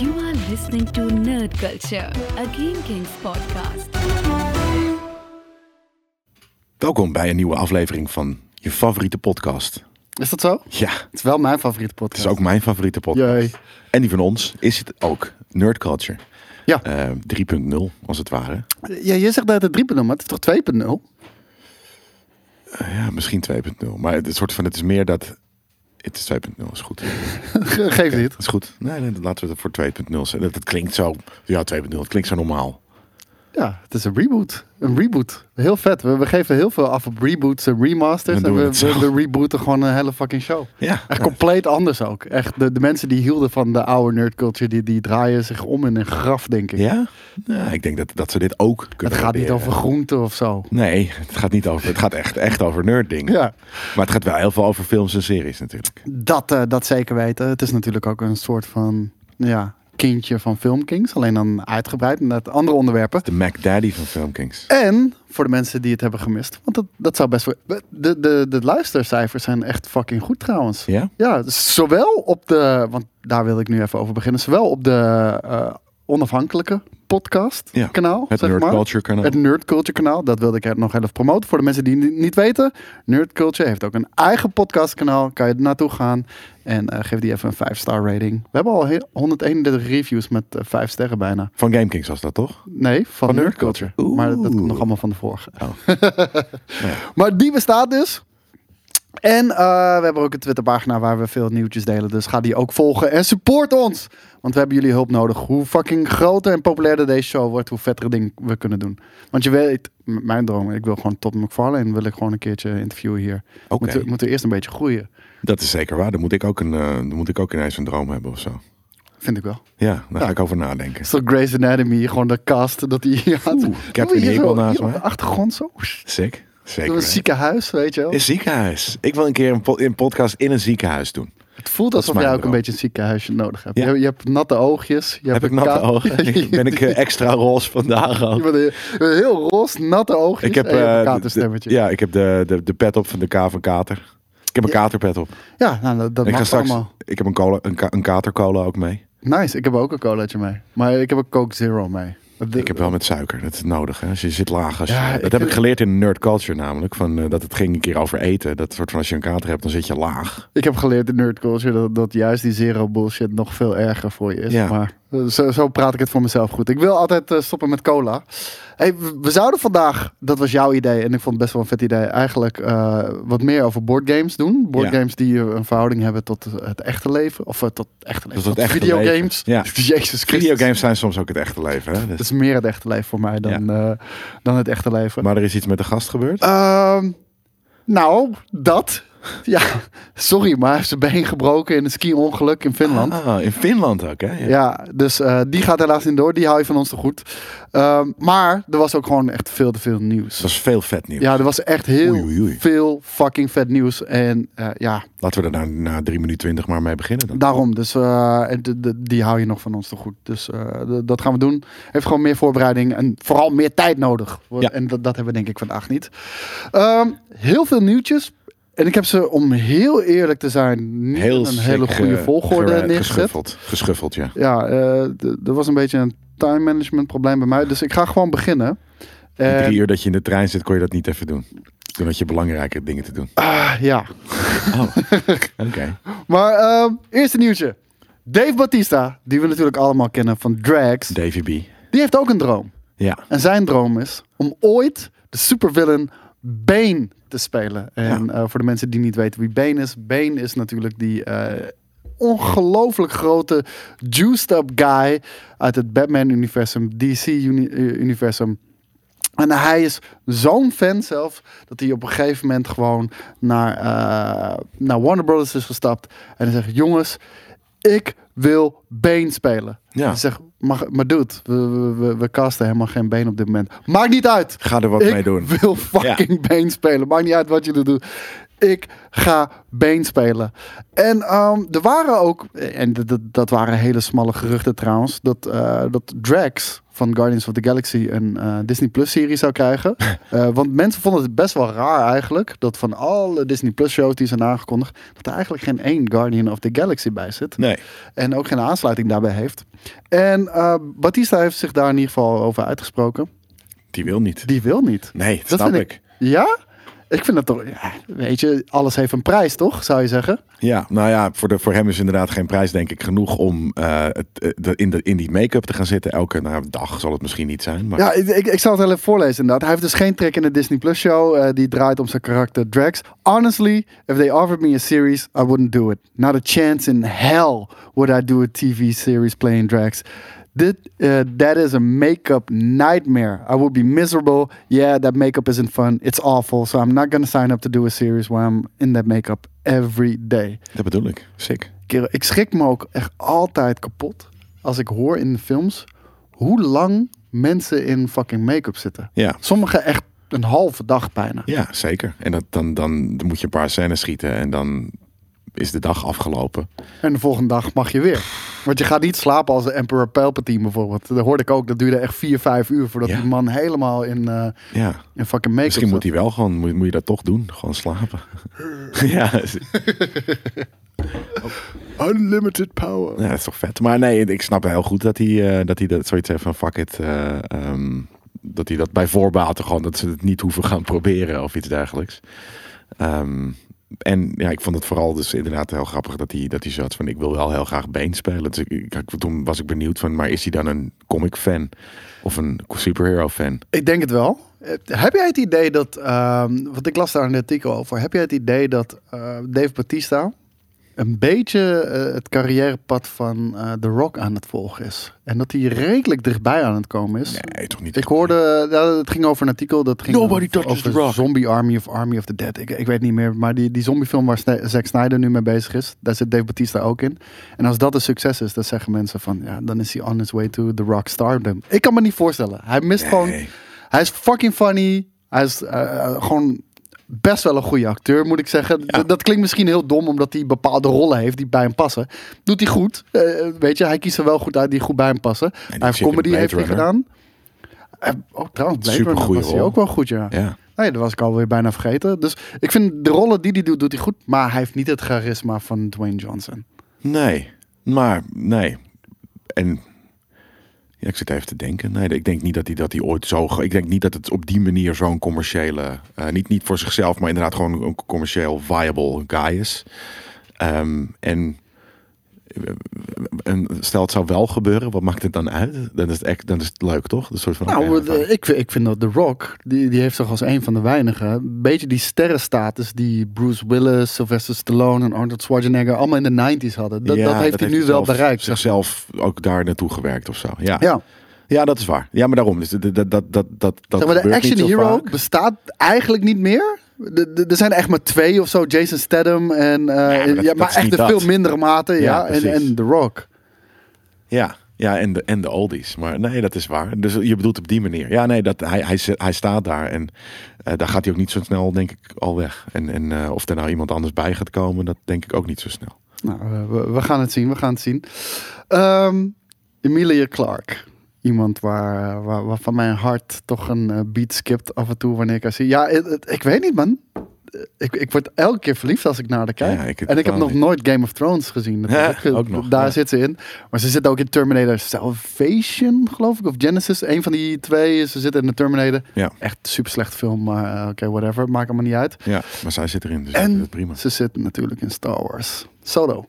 You are listening to Nerd Culture, a Game Kings podcast. Welkom bij een nieuwe aflevering van je favoriete podcast. Is dat zo? Ja, het Het is wel mijn favoriete podcast. is ook mijn favoriete podcast. Jee. En die van ons is het ook. Nerd Culture. Ja. Eh, 3.0 als het ware. ja, je zegt dat het 3.0, maar het is toch 2.0? Eh, Ja, misschien 2.0. Maar het, is soort van, het is meer dat... Het is 2.0, is goed. Geef dit. Dat is goed. Nee, nee, dan laten we het voor 2.0 zetten. Dat, dat klinkt zo... Ja, 2.0. Het klinkt zo normaal. Ja, het is een reboot. Een reboot. Heel vet. We, we geven heel veel af op reboots en Dan remasters. En doen we we, het zo. we, we rebooten gewoon een hele fucking show. Ja. Echt compleet anders ook. Echt, de, de mensen die hielden van de oude nerdculture, die, die draaien zich om in een graf, denk ik. Ja? Nou, ik denk dat, dat ze dit ook het kunnen gaat niet waarderen. over groenten of zo. Nee, het gaat niet over... Het gaat echt, echt over nerd dingen. Ja. Maar het gaat wel heel veel over films en series natuurlijk. Dat, eh, dat zeker weten. Het is natuurlijk ook een soort van ja, kindje van Filmkings. Alleen dan uitgebreid met andere onderwerpen. De Mac Daddy van Filmkings. En voor de mensen die het hebben gemist, want dat, dat zou best wel. De, de, de luistercijfers zijn echt fucking goed trouwens. Ja? Ja, zowel op de. Want daar wil ik nu even over beginnen. Zowel op de eh, onafhankelijke podcast Ja, kanaal. het zeg Nerd maar. Culture kanaal. Het Nerd Culture kanaal. Dat wilde ik er nog even promoten. Voor de mensen die het niet weten. Nerd Culture heeft ook een eigen podcast kanaal. Kan je er naartoe gaan. En eh, geef die even een 5-star rating. We hebben al heel- 131 reviews met eh, 5 sterren bijna. Van Gamekings was dat toch? Nee, van, Nerd Nerd Culture. Culture. Maar dat komt Oeh. nog allemaal van de vorige. Oh. Maar die bestaat dus. En eh, we hebben ook een Twitterpagina waar we veel nieuwtjes delen. Dus ga die ook volgen en support ons. Want we hebben jullie hulp nodig. Hoe fucking groter en populairder deze show wordt, hoe vettere dingen we kunnen doen. Want je weet, m- mijn droom, ik wil gewoon Todd McFarlane wil ik gewoon een keertje interviewen hier. Oké. Moeten, moeten we eerst een beetje groeien. Dat is zeker waar. Dan moet ik ook, een, eh, dan moet ik ook ineens een droom hebben of zo. Vind ik wel. Ja, daar ga ik over nadenken. Zo Grey's Anatomy, gewoon de cast dat hij hier aan Oeh, Captain Hier zo- Hegel naast hier op me. de achtergrond zo. Sick. Zeker. Door een weten. ziekenhuis, weet je wel. Een ziekenhuis. Ik wil een keer een, po- een podcast in een ziekenhuis doen. Het voelt Dat is alsof jij mijn ook een droom. beetje een ziekenhuisje nodig hebt. Ja. Je, je hebt natte oogjes. Je Heb ik hebt natte ka- ogen? ben ik eh, extra roze vandaag Je ook? bent een- een heel roze, natte oogjes. Ik heb, en je hebt eh, een de- katerstemmetje. de- ja, ik heb de, de, de pet op van de K van Kater. Ik heb een katerpet op. Ja, nou, dat, dat ik mag ga straks. allemaal. Ik heb een, cola, een, ka- een katercola ook mee. Nice, ik heb ook een colaatje mee. Maar ik heb ook Coke Zero mee. De- Ik heb wel met suiker. Dat is nodig. Hè? Als je zit laag. Als je- Ja, dat ik heb ik heb- geleerd in nerd culture namelijk. Van, eh, dat het ging een keer over eten. Dat soort van als je een kater hebt, dan zit je laag. ik heb geleerd in nerd culture dat, dat juist die zero bullshit nog veel erger voor je is. Ja. Maar eh, zo, zo praat ik het voor mezelf goed. Ik wil altijd eh, stoppen met cola. Hey, we, we zouden vandaag, dat was jouw idee en ik vond het best wel een vet idee, eigenlijk eh, wat meer over boardgames doen. Boardgames die eh, een verhouding hebben tot het echte leven. Of eh, tot, echte leven, Tot tot, het echte videogames. leven, ja. Jezus Christus. Videogames zijn soms ook het echte leven. Hè? Dus- Dat is meer het echte leven voor mij dan, eh, dan het echte leven. maar er is iets met de gast gebeurd. Ehm, nou, dat. Ja, sorry, maar hij heeft zijn been gebroken in een ski-ongeluk in Finland. Ah, in Finland ook, hè? Ja. Ja, dus eh, die gaat helaas niet door. Die hou je van ons te goed. Ehm, maar er was ook gewoon echt veel te veel nieuws. Het was veel vet nieuws. Ja, er was echt heel Oei, oei, oei. veel fucking vet nieuws. En eh, ja, Laten we er nou na 3 minuten 20 maar mee beginnen dan. daarom. Dus eh, en de- de- die hou je nog van ons te goed. Dus eh, d- dat gaan we doen. Heeft gewoon meer voorbereiding en vooral meer tijd nodig. Ja. En dat, dat hebben we denk ik vandaag niet. Ehm, heel veel nieuwtjes. En ik heb ze, om heel eerlijk te zijn, niet in een sick, hele goede eh, volgorde gered- neergezet. Geschuffeld. Geschuffeld, ja. Ja, eh, d- er was een beetje een time management probleem bij mij. Dus ik ga gewoon beginnen. Die En- drie uur dat je in de trein zit, kon je dat niet even doen. Toen had je belangrijke dingen te doen. Oh, Ah, ja. Oké. Maar ehm, eerste nieuwtje. Dave Batista, die we natuurlijk allemaal kennen van Drax, Davy B. die heeft ook een droom. Ja. En zijn droom is om ooit de supervillain Bane te spelen. En eh, voor de mensen die niet weten wie Bane is, Bane is natuurlijk die eh, ongelooflijk grote juiced up guy uit het Batman-universum, DC-universum. eh, En hij is zo'n fan zelf dat hij op een gegeven moment gewoon naar, eh, naar Warner Brothers is gestapt. En hij zegt: Jongens, ik wil Bane spelen. Ja. Hij zegt: maar, maar dude, we, we, we, we casten helemaal geen Bane op dit moment. Maakt niet uit. Ga er wat ik mee doen. wil fucking Bane spelen. Maakt niet uit wat jullie doen. ik ga Bane spelen. En ehm, er waren ook, en d- d- dat waren hele smalle geruchten trouwens, dat, eh, dat Drax van Guardians of the Galaxy een eh, Disney Plus serie zou krijgen. Eh, want mensen vonden het best wel raar eigenlijk, dat van alle Disney Plus shows die zijn aangekondigd, dat er eigenlijk geen één Guardian of the Galaxy bij zit. Nee. En ook geen aansluiting daarbij heeft. En eh, Batista heeft zich daar in ieder geval over uitgesproken. Die wil niet. Die wil niet. Nee, dat snap vind ik. Ja? Ik vind dat toch... Ja, weet je, alles heeft een prijs, toch? Zou je zeggen? Ja, nou ja, voor, de, voor hem is inderdaad geen prijs, denk ik, genoeg om eh, het, eh, de- in, de, in die make-up te gaan zitten. Elke nou, dag zal het misschien niet zijn. Maar Ja, ik, ik, ik zal het wel even voorlezen inderdaad. Hij heeft dus geen trek in de Disney Plus show. eh, die draait om zijn karakter Drax. Honestly, if they offered me a series, I wouldn't do it. Not a chance in hell would I do a TV series playing Drax. That, eh, that is a make-up nightmare. I would be miserable. Yeah, that makeup isn't fun. It's awful. So I'm not gonna sign up to do a series where I'm in that makeup every day. dat bedoel ik. Sick. Kerel, ik schrik me ook echt altijd kapot als ik hoor in de films hoe lang mensen in fucking make-up zitten. Ja. Sommigen echt een halve dag bijna. Ja, zeker. En dat, dan, dan moet je een paar scènes schieten en dan is de dag afgelopen. En de volgende dag mag je weer. Want je gaat niet slapen als de Emperor Palpatine bijvoorbeeld. Dat hoorde ik ook. Dat duurde echt vier, vijf uur voordat Ja. die man helemaal in, eh, Ja. in fucking make-up Misschien moet hij zat. wel gewoon, moet, moet je dat toch doen? Gewoon slapen. ja, is- Unlimited power. ja, dat is toch vet. Maar nee, ik snap heel goed dat hij, eh, dat, hij dat zoiets heeft van fuck it. eh, ehm, dat hij dat bij voorbaten gewoon, dat ze het niet hoeven gaan proberen of iets dergelijks. Ehm, en ja, ik vond het vooral dus inderdaad heel grappig dat hij, dat hij zat van ik wil wel heel graag Bane spelen. Dus ik, ik- toen was ik benieuwd van, maar is hij dan een comic fan? Of een superhero fan? Ik denk het wel. Eh, Heb jij het idee dat, ehm want ik las daar een artikel over, heb jij het idee dat eh, Dave Batista een beetje eh, het carrièrepad van eh, The Rock aan het volgen is? En dat hij redelijk dichtbij aan het komen is? Nee, toch niet. Ik hoorde, nou, het ging over een artikel dat ging Nobody touches over The Rock. Zombie Army of Army of the Dead. Ik, ik weet niet meer, maar die, die zombiefilm waar Sna- Zack Snyder nu mee bezig is, daar zit Dave Bautista ook in. En als dat een succes is, dan zeggen mensen van, ja, dan is hij on his way to the rock stardom. Ik kan me niet voorstellen. Hij mist gewoon, hij is fucking funny. Hij is eh, eh, gewoon best wel een goede acteur, moet ik zeggen. D- Dat klinkt misschien heel dom, omdat hij bepaalde rollen heeft die bij hem passen. Doet hij goed. Eh, weet je, hij kiest er wel goed uit die goed bij hem passen. Hij heeft zit in comedy Blade heeft hij Runner. gedaan. Eh, oh, trouwens, Blade Supergoeie Runner was hij rol. ook wel goed, ja. Ja. Nee, dat was ik alweer bijna vergeten. Dus ik vind de rollen die hij doet, doet hij goed. Maar hij heeft niet het charisma van Dwayne Johnson. Nee, maar nee. En ja, ik zit even te denken. Nee, ik denk niet dat hij dat hij ooit zo. ge- Ik denk niet dat het op die manier zo'n commerciële. eh, niet, niet voor zichzelf, maar inderdaad gewoon een commercieel viable guy is. Ehm, en, eh, en stel het zou wel gebeuren, wat maakt het dan uit? Dan is het, echt, dan is het leuk, toch? Een soort van. Nou, oké, eh, ik, vind- ik vind dat The Rock, die, die heeft toch als een van de weinigen... een beetje die sterrenstatus die Bruce Willis, Sylvester Stallone en Arnold Schwarzenegger... allemaal in de 90s hadden. Dat, Ja, dat heeft hij nu wel zelf- bereikt. zeg Zichzelf ook daar naartoe gewerkt of zo. Ja, maar. ja. Ja, dat is waar. Ja, maar daarom. Dus dat, dat, dat, dat, dat zeg maar, de gebeurt niet action zo hero vaak. bestaat eigenlijk niet meer. De- de- Er zijn echt maar twee of zo, Jason Statham en... eh, ja, maar maar, dat- dat is echt niet in dat. veel mindere mate, ja. Ja, en, precies. en The Rock. Ja, ja en, de, en de oldies. Maar nee, dat is waar. Dus je bedoelt op die manier. Ja, nee, dat, hij, hij, zit- hij staat daar. En eh, daar gaat hij ook niet zo snel, denk ik, al weg. En, en eh, of er nou iemand anders bij gaat komen, dat denk ik ook niet zo snel. Nou, eh, we, we gaan het zien, we gaan het zien. Ehm, Emilia Clarke. Iemand waar, eh, waar, waarvan mijn hart toch een eh, beat skipt af en toe wanneer ik haar zie. Ja, het- het- ik weet niet man. Eh, Ik, ik word elke keer verliefd als ik naar haar kijk. Ja, ik en ik heb totaal nog niet. nooit Game of Thrones gezien. natuurlijk. Ja, ook nog, Daar ja. zit ze in. Maar ze zit ook in Terminator Salvation, geloof ik. Of Genesis, een van die twee. Ze zit in de Terminator. Ja. Echt super slecht film, maar eh, oké, whatever. Maakt allemaal niet uit. Ja, maar zij zit erin, dus ik vind En het prima. ze zit natuurlijk in Star Wars. Solo.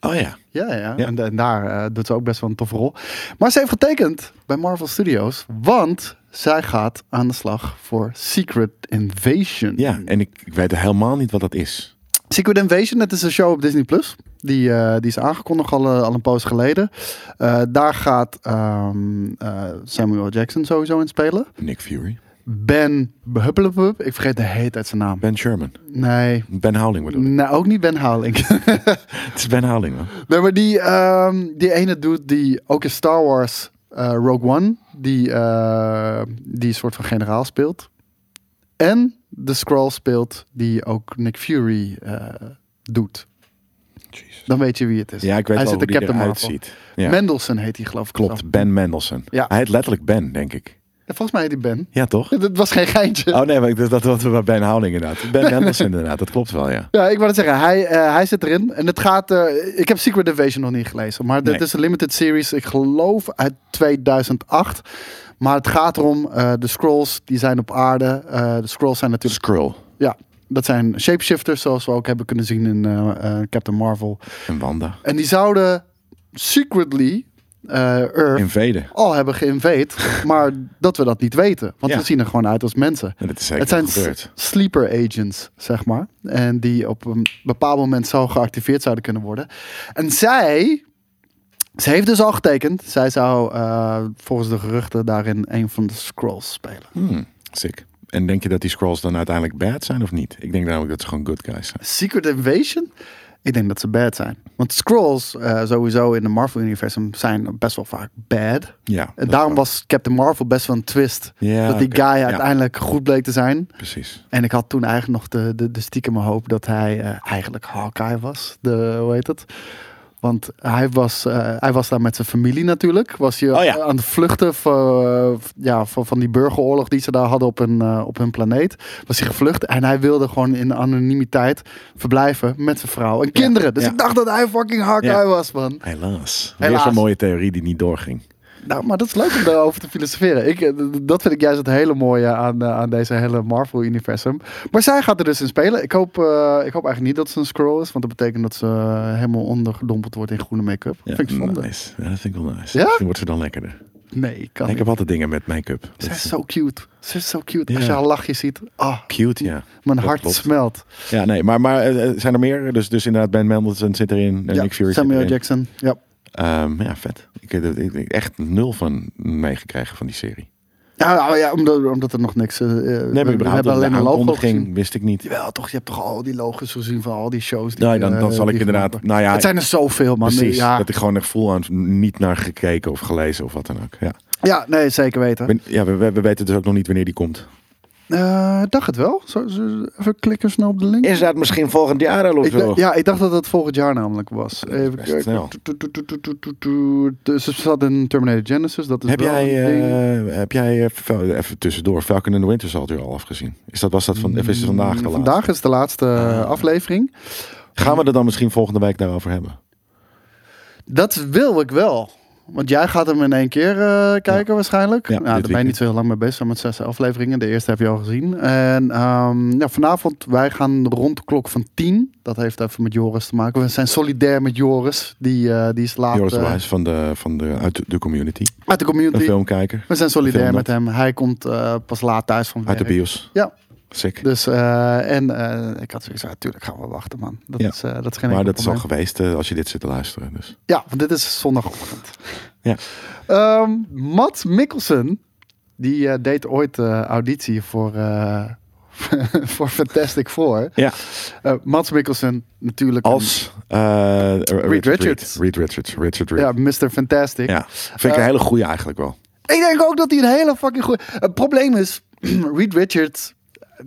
Oh ja. Ja, ja. Ja. En, en daar eh, doet ze ook best wel een toffe rol. Maar ze heeft getekend bij Marvel Studios, want zij gaat aan de slag voor Secret Invasion. Ja, en ik, ik weet helemaal niet wat dat is. Secret Invasion, dat is een show op Disney Plus. Die, eh, die is aangekondigd al, eh, al een poos geleden. Eh, daar gaat ehm, eh, Samuel Jackson sowieso in spelen. Nick Fury. Ben Huppelepup, ik vergeet de hele tijd zijn naam. Ben Sherman. Nee, Ben Howling bedoel ik. nou, ook niet Ben Howling. Het is Ben Howling, man. Nee, maar die, ehm, die ene dude die ook in Star Wars eh, Rogue One, die, eh, die een soort van generaal speelt. En de Skrull speelt die ook Nick Fury eh, doet. Jezus. Dan weet je wie het is. Ja, ik weet wel hij zit hoe de die Captain eruit Marvel. ziet. Ja, Mendelssohn heet hij geloof ik. zelf. klopt, Ben Mendelssohn. Ja. Hij heet letterlijk Ben, denk ik. Ja, volgens mij heet hij Ben. Ja, toch? Dat was geen geintje. Oh nee, maar ik dacht dat dat we bij een houding inderdaad. Ben Mendelssohn inderdaad, dat klopt wel, ja. Ja, ik wou het zeggen. Hij, eh, hij zit erin. En het gaat... eh, ik heb Secret Invasion nog niet gelezen. Maar dit Nee. is een limited series. Ik geloof uit 2008. Maar het gaat erom... eh, de Scrolls, die zijn op aarde. Eh, de Scrolls zijn natuurlijk... Skrull, Ja, dat zijn shapeshifters. Zoals we ook hebben kunnen zien in eh, eh, Captain Marvel. en Wanda. En die zouden secretly eh, Earth Invaden. al hebben geïnveed. maar dat we dat niet weten. Want Ja. we zien er gewoon uit als mensen. En dat is zeker Het zijn gebeurd. s- sleeper agents, zeg maar. En die op een bepaald moment zo geactiveerd zouden kunnen worden. En zij, ze heeft dus al getekend. Zij zou eh, volgens de geruchten daarin een van de scrolls spelen. Hmm, sick. En denk je dat die scrolls dan uiteindelijk bad zijn of niet? Ik denk namelijk dat ze gewoon good guys zijn. Secret Invasion? Ik denk dat ze bad zijn. Want scrolls eh, sowieso in de Marvel-universum zijn best wel vaak bad. Ja. dat En is daarom waar. was Captain Marvel best wel een twist. Ja, dat die oké. guy Ja. uiteindelijk goed bleek te zijn. Precies. En ik had toen eigenlijk nog de, de, de stiekeme hoop dat hij eh, eigenlijk Hawkeye was. De, hoe heet het? Want hij was, eh, hij was daar met zijn familie natuurlijk. Was je Oh ja. aan het vluchten van, eh, ja, van, van die burgeroorlog die ze daar hadden op hun, eh, op hun planeet. Was hij gevlucht en hij wilde gewoon in anonimiteit verblijven met zijn vrouw en kinderen. Dus ja. ik dacht dat hij fucking Hawkeye Ja. was, man. Helaas. Weer Helaas. zo'n mooie theorie die niet doorging. Nou, maar dat is leuk om daarover te filosoferen. Ik, eh, d- dat vind ik juist het hele mooie aan, eh, aan deze hele Marvel-universum. Maar zij gaat er dus in spelen. Ik hoop, eh, ik hoop eigenlijk niet dat ze een scroll is. Want dat betekent dat ze eh, helemaal ondergedompeld wordt in groene make-up. Ja, vind ik zonde. Nee, nice. Ja, dat vind ik wel nice. Ja? Misschien wordt ze dan lekkerder. ik kan ik niet. heb altijd dingen met make-up. Dat Ze is is zo cute. Ze is zo cute. Als Ja. je haar lachje ziet. Ah, Cute, ja. mijn Dat hart klopt. smelt. Ja, nee, maar, maar eh, eh, zijn er meer? Dus, dus inderdaad, Ben Mendelssohn zit erin. en Ja, Nick Fury Samuel zit erin. Jackson. Ja. Ehm, ja, vet. Ik heb er- ik- ik- echt nul van meegekregen van die serie. Ja, nou ja, omdat, omdat er nog niks... eh, eh, Nee, maar we überhaupt hebben alleen de een logo gezien. aankondiging wist ik niet. Jawel, toch? Je hebt toch al die logos gezien van al die shows? Die, Nou, dan, dan eh, zal ik die inderdaad... gemaakt Nou ja, Het zijn er zoveel, man. Precies, Ja. dat ik gewoon echt vol aan niet naar gekeken of gelezen of wat dan ook. Ja, ja, nee, zeker weten. Ben- ja we, we- we weten dus ook nog niet wanneer die komt. Eh, dacht het wel. Zo, zo- even klikken snel op de link. dat misschien volgend jaar al Ik dacht- ja, ik dacht dat dat volgend jaar namelijk was. Even best kijken. snel. Toet, toet, toet, toet, toet, toet, toet. Dus ze zat in Terminator Genesis. Dat is Heb wel jij, een ding. eh, heb jij eh, Fal- even tussendoor, Falcon and the Winter Soldier al afgezien? Is dat, was dat van, of is het vandaag de laatste? Mm, Ah. Vandaag is de laatste eh, aflevering. Gaan we er dan misschien volgende week daarover hebben? Dat wil ik wel. Want jij gaat hem in één keer eh, kijken waarschijnlijk. Ja, nou, daar dit ben je niet weekend. zo heel lang mee bezig. Met zes afleveringen. De eerste heb je al gezien. En ehm, ja, vanavond, wij gaan rond de klok van tien. Dat heeft even met Joris te maken. We zijn solidair met Joris. Die, eh, die is laat Joris de eh, Wijs van de, van de, uit de community. uit de Een community. filmkijker. We zijn Een solidair film met hem. Hij komt eh, pas laat thuis van Uit de werk. bios. Ja. Sick. Dus, eh, en eh, ik had zoiets van, natuurlijk gaan we wachten, man. Dat, Ja. is, eh, dat is geen Maar enkel dat is al probleem. geweest eh, als je dit zit te luisteren. Dus. Ja, want dit is zondagochtend. Ja. Ehm Matt Mikkelsen, die eh, deed ooit eh, auditie voor, eh, voor Fantastic Four. Ja. Eh Matt Mikkelsen natuurlijk. een- Als eh, Reed Richards. Reed Richards. Richard Reed. ja, Mr. Fantastic. Ja, vind ik een Eh, hele goeie eigenlijk wel. Ik denk ook dat hij een hele fucking goeie... Het probleem is, Reed Richards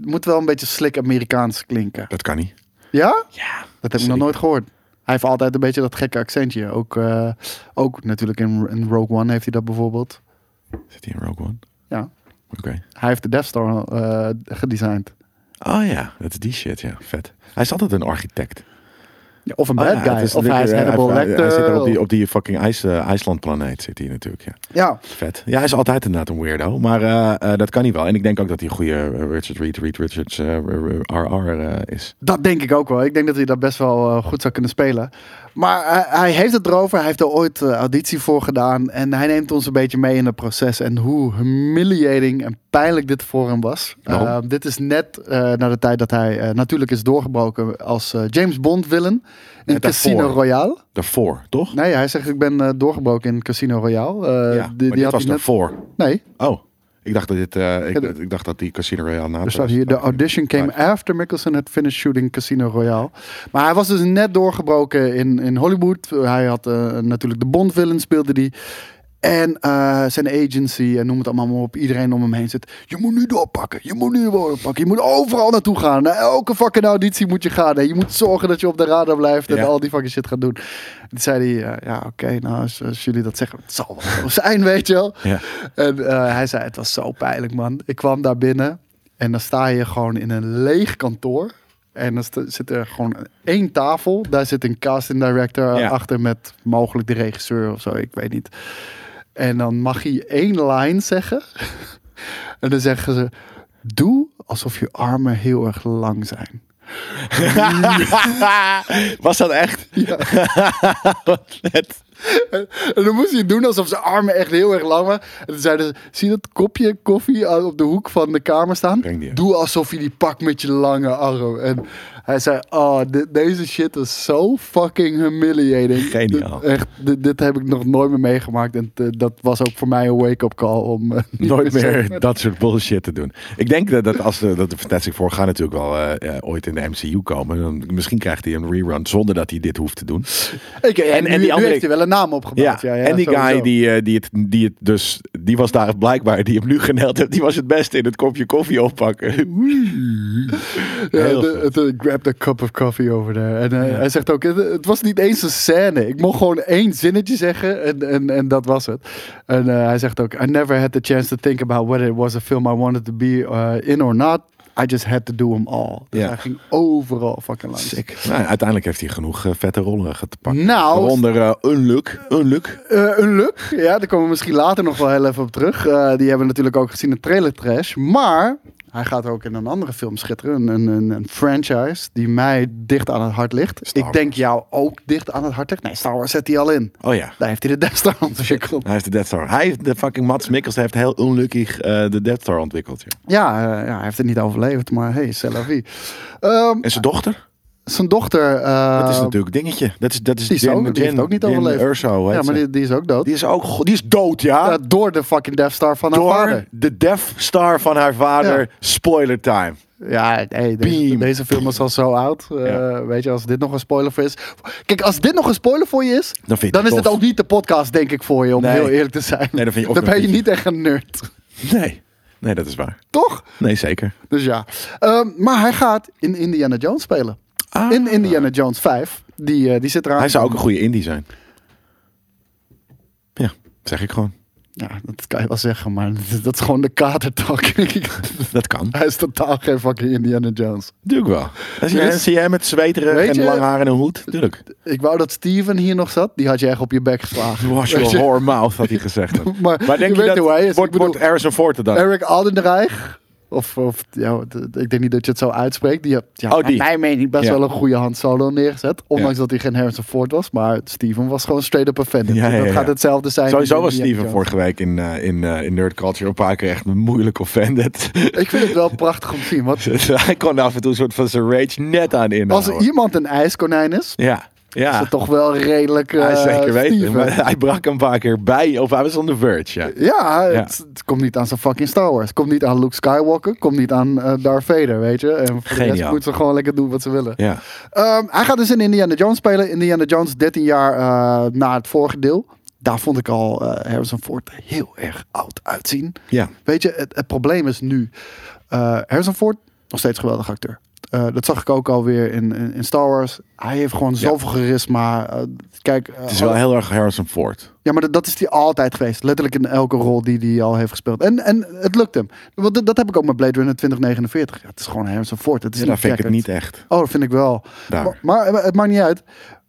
moet wel een beetje slick Amerikaans klinken. Dat kan niet. Ja? Ja. Dat heb ik Zeker. nog nooit gehoord. Hij heeft altijd een beetje dat gekke accentje. Ook, eh, ook natuurlijk in, in Rogue One heeft hij dat bijvoorbeeld. Zit hij in Rogue One? Ja. Oké. Hij heeft de Death Star eh, gedesigned. Oh ja, dat is die shit, ja. Vet. Hij is altijd een architect. Ja, of een Oh bad ja, guy. het is of hij is natuurlijk, eh, Hannibal hij- hij- Lecter. Hij zit daar op die, of- op die fucking IJs, eh, IJslandplaneet zit hij natuurlijk, ja. Ja, Vet. Ja, hij is altijd inderdaad een weirdo, maar eh, eh, dat kan hij wel. En ik denk ook dat hij een goede eh, Richard Reed, Reed Richards eh, RR eh, is. dat denk ik ook wel. Ik denk dat hij dat best wel eh, goed zou kunnen spelen. Maar hij, hij heeft het erover. Hij heeft er ooit eh, auditie voor gedaan. En hij neemt ons een beetje mee in het proces. En hoe humiliating en pijnlijk dit voor hem was. Waarom? Eh, dit is net eh na de tijd dat hij eh, natuurlijk is doorgebroken als eh, James Bond villain. In Net daarvoor. Casino Royale. Daarvoor, toch? Nee, hij zegt ik ben eh, doorgebroken in Casino Royale. Eh, ja, maar dit was had hij net- daarvoor. Nee, Oh, ik dacht dat dit, eh, ik, Ja, de- ik dacht dat die Casino Royale na er staat hier, de audition came after Mickelson had finished shooting Casino Royale. Maar hij was dus net doorgebroken in, in Hollywood. Hij had eh, natuurlijk de Bond villain speelde die. En eh, zijn agency en noem het allemaal maar op. Iedereen om hem heen zit. Je moet nu doorpakken. Je moet nu doorpakken. Je moet overal naartoe gaan. Naar elke fucking auditie moet je gaan. En je moet zorgen dat je op de radar blijft. En Ja. al die fucking shit gaat doen. Toen zei hij, eh, ja oké, nou als, als jullie dat zeggen. Het zal wel zo zijn, weet je wel. Ja. En eh, hij zei, het was zo pijnlijk man. Ik kwam daar binnen. En dan sta je gewoon in een leeg kantoor. En dan sta- zit er gewoon één tafel. Daar zit een casting director Ja. achter met mogelijk de regisseur of zo. Ik weet niet. En dan mag hij één lijn zeggen. en dan zeggen ze: Doe alsof je armen heel erg lang zijn. Was dat echt? Ja. Wat vet. En, en dan moest hij doen alsof zijn armen echt heel erg lang waren. En toen zeiden ze, zie je dat kopje koffie aan- op de hoek van de kamer staan? Breng die. Doe alsof je die pakt met je lange arm. En hij zei, oh, de- deze shit is zo fucking humiliating. Geniaal. Dit, echt, dit, dit heb ik nog nooit meer meegemaakt. En eh, dat was ook voor mij een wake-up call om... eh, niet Nooit zo- meer dat soort bullshit te doen. Ik denk dat, dat als de, dat de Fantastic Four gaan natuurlijk wel eh, eh, ooit in de MCU komen. Dan, misschien krijgt hij een rerun zonder dat hij dit hoeft te doen. Ik- en en, die nu, nu andere- heeft hij wel een naam Ja, opgebouwd. Ja, ja, en die sowieso. guy die, eh, die, het, die het dus, die was daar blijkbaar, die hem nu geneld heeft, die was het beste in het kopje koffie oppakken. Ja, Heel de, vet. de- grab the cup of coffee over there. En eh, hij zegt ook, het, het was niet eens een scène. Ik mocht gewoon één zinnetje zeggen en, en, en dat was het. En eh, hij zegt ook, I never had the chance to think about whether it was a film I wanted to be eh, in or not. I just had to do them all. Dus Ja. hij ging overal fucking langs. Nou, uiteindelijk heeft hij genoeg eh, vette rollen ge- te pakken. Nou- Waaronder eh, Unlook. Unlook. Eh, een luk, ja, daar komen we misschien later nog wel heel even op terug. Eh, die hebben we natuurlijk ook gezien in Trailer Trash. Maar hij gaat ook in een andere film schitteren. Een, een, een, een franchise die mij dicht aan het hart ligt. Star Ik denk jou ook dicht aan het hart ligt. Nee, Star Wars zet hij al in. Oh ja. Daar heeft hij de Death Star ontwikkeld. Hij heeft de Death Star. Hij heeft de fucking Mats Mikkels heeft heel onlukkig eh, de Death Star ontwikkeld. ja. Ja, eh, ja, hij heeft het niet overleefd, maar hey, c'est la vie. Ehm, En zijn dochter? zijn dochter... eh, Dat is natuurlijk dingetje. Dat is, dat is die, is Jin- ook, die heeft Jin- ook niet Jin overleefd. Erso, hoe heet ja, maar ze? die, die is ook dood. Die is ook go- die is dood, ja. Ja, door de fucking Death Star van haar Door vader. de Death Star van haar vader. Ja. Spoiler time. Ja, hey, deze, Beam. deze film is al zo oud. Eh, Ja. Weet je, als dit nog een spoiler voor is. Kijk, als dit nog een spoiler voor je is, Dan vind je het is tof. dit ook niet de podcast, denk ik, voor je, om Nee. heel eerlijk te zijn. Nee, dan vind je ook ben nog je niet. niet echt een nerd. Nee. Nee, dat is waar. Toch? Nee, zeker. Dus ja. Ehm, maar hij gaat in Indiana Jones spelen. Ah. In Indiana Jones 5. Die, eh, die zit eraan. Hij zou ook een goede indie zijn. Ja, zeg ik gewoon. Ja, dat kan je wel zeggen, maar dat is gewoon de kadertak. Dat kan. hij is totaal geen fucking Indiana Jones. Natuurlijk wel. Als je, Er is- en zie jij met zweterig Weet en je- lang haar en een hoed? Tuurlijk. Ik wou dat Steven hier nog zat. Die had je echt op je bek geslagen. Wash Weet your je? whore mouth, had hij gezegd. Maar je weet hoe hij is. Ik wordt, bedoel- wordt Harrison Ford er dan? Eric Aldenreich. Of, of ja, d- d- ik denk niet dat je het zo uitspreekt. Die had ja, Oh, die. naar mijn mening best Ja. wel een goede hand solo neergezet. Ondanks Ja. dat hij geen Harrison Ford was. Maar Steven was gewoon straight up offended. Ja, En dat ja, ja. gaat hetzelfde zijn. Sowieso in was Indiana Steven Jones. vorige week in, eh, in, eh, in Nerd Culture een paar keer echt moeilijk offended. Ik vind het wel prachtig om te zien. Want Hij kon af en toe een soort van zijn rage net aan als inhouden. er iemand een ijskonijn is, Ja, ja. is het toch wel redelijk eh hij zeker weten. Steven. Maar hij brak een paar keer bij. Of hij was on the verge, ja. Ja, Ja. Het, het komt niet aan zijn fucking Star Wars. Het komt niet aan Luke Skywalker. Het komt niet aan eh, Darth Vader, weet je. En voor de rest Geniaal. moeten ze gewoon lekker doen wat ze willen. Ja. Ehm, hij gaat dus in Indiana Jones spelen. Indiana Jones 13 jaar eh, na het vorige deel. Daar vond ik al eh, Harrison Ford heel erg oud uitzien. Ja. Weet je, het, het probleem is nu... eh, Harrison Ford, nog steeds geweldig acteur. Eh, dat zag ik ook alweer in, in, in Star Wars. Hij heeft gewoon zoveel charisma. Eh, kijk, eh, Het is wel heel erg Harrison Ford. ja, maar dat, dat is hij altijd geweest. Letterlijk in elke rol die hij al heeft gespeeld. En, en het lukt hem. Want dat, dat heb ik ook met Blade Runner 2049. Ja, het is gewoon Harrison Ford. Het is Ja, niet dan vind ik het niet gekkerd. echt. Oh, dat vind ik wel. Daar. Maar, maar het maakt niet uit.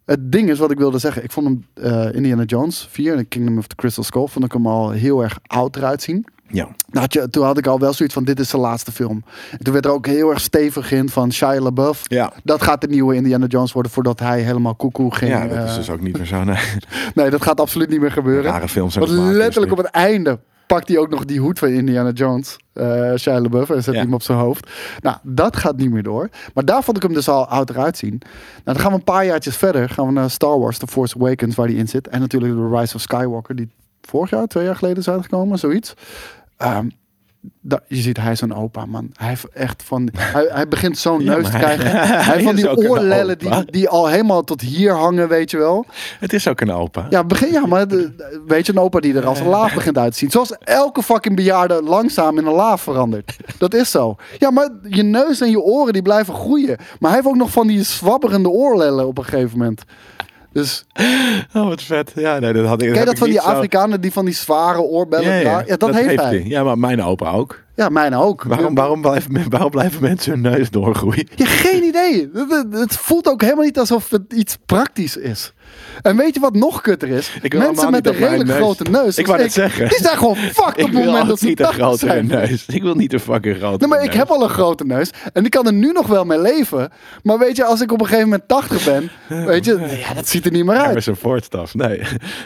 Het ding is wat ik wilde zeggen. Ik vond hem eh, Indiana Jones 4 en Kingdom of the Crystal Skull vond ik hem al heel erg oud eruit zien. Ja. Nou, had je, toen had ik al wel zoiets van dit is de laatste film. En toen werd er ook heel erg stevig in van Shia LaBeouf. Ja. Dat gaat de nieuwe Indiana Jones worden voordat hij helemaal koekoe ging. Ja, dat eh, is dus ook niet meer zo. Nee. Nee, dat gaat absoluut niet meer gebeuren. Rare films aan Want het maken, dus letterlijk is op het einde pakt hij ook nog die hoed van Indiana Jones, eh Shia LaBeouf, en zet Ja. hem op zijn hoofd. Nou, dat gaat niet meer door. Maar daar vond ik hem dus al oud eruit zien. Nou, dan gaan we een paar jaartjes verder. Gaan we naar Star Wars, The Force Awakens, waar die in zit. En natuurlijk The Rise of Skywalker, die vorig jaar, twee jaar geleden is uitgekomen, zoiets. Ehm, da- je ziet, hij is een opa, man. Hij heeft echt van... Hij, hij begint zo'n neus te maar krijgen. Hij, heeft van is ook een die oorlellen opa. die, die al helemaal tot hier hangen, weet je wel. Het is ook een opa. Ja, begin, ja maar de- weet je, een opa die er als een laaf begint uit te zien. Zoals elke fucking bejaarde langzaam in een laaf verandert. Dat is zo. Ja, maar je neus en je oren die blijven groeien. Maar hij heeft ook nog van die zwabberende oorlellen op een gegeven moment. Dus Oh, wat vet. Ja, nee, dat had ik. ken je heb dat ik van die niet zo- Afrikanen die van die zware oorbellen Ja, ja, dragen? nou, Ja, dat, heeft hij. Ja, maar mijn opa ook. Ja, mijn ook. Waarom, waarom, blijven, men- waarom blijven mensen hun neus doorgroeien? Ja, geen idee. Het- Het het voelt ook helemaal niet alsof het iets praktisch is. En weet je wat nog kutter is? Ik wil Mensen allemaal met niet een dat mijn redelijk neus- grote Ik neus. als wou net zeggen. Die zijn gewoon fucked op Ik het wil moment dat altijd ze niet een 80 grotere zijn. neus. Ik wil niet een fucking grotere Nee, maar ik neus. heb al een grote neus. En ik kan er nu nog wel mee leven. Maar weet je, als ik op een gegeven moment 80 ben, weet je, ja, dat ziet er niet meer uit. Harrison Ford staf. Nee.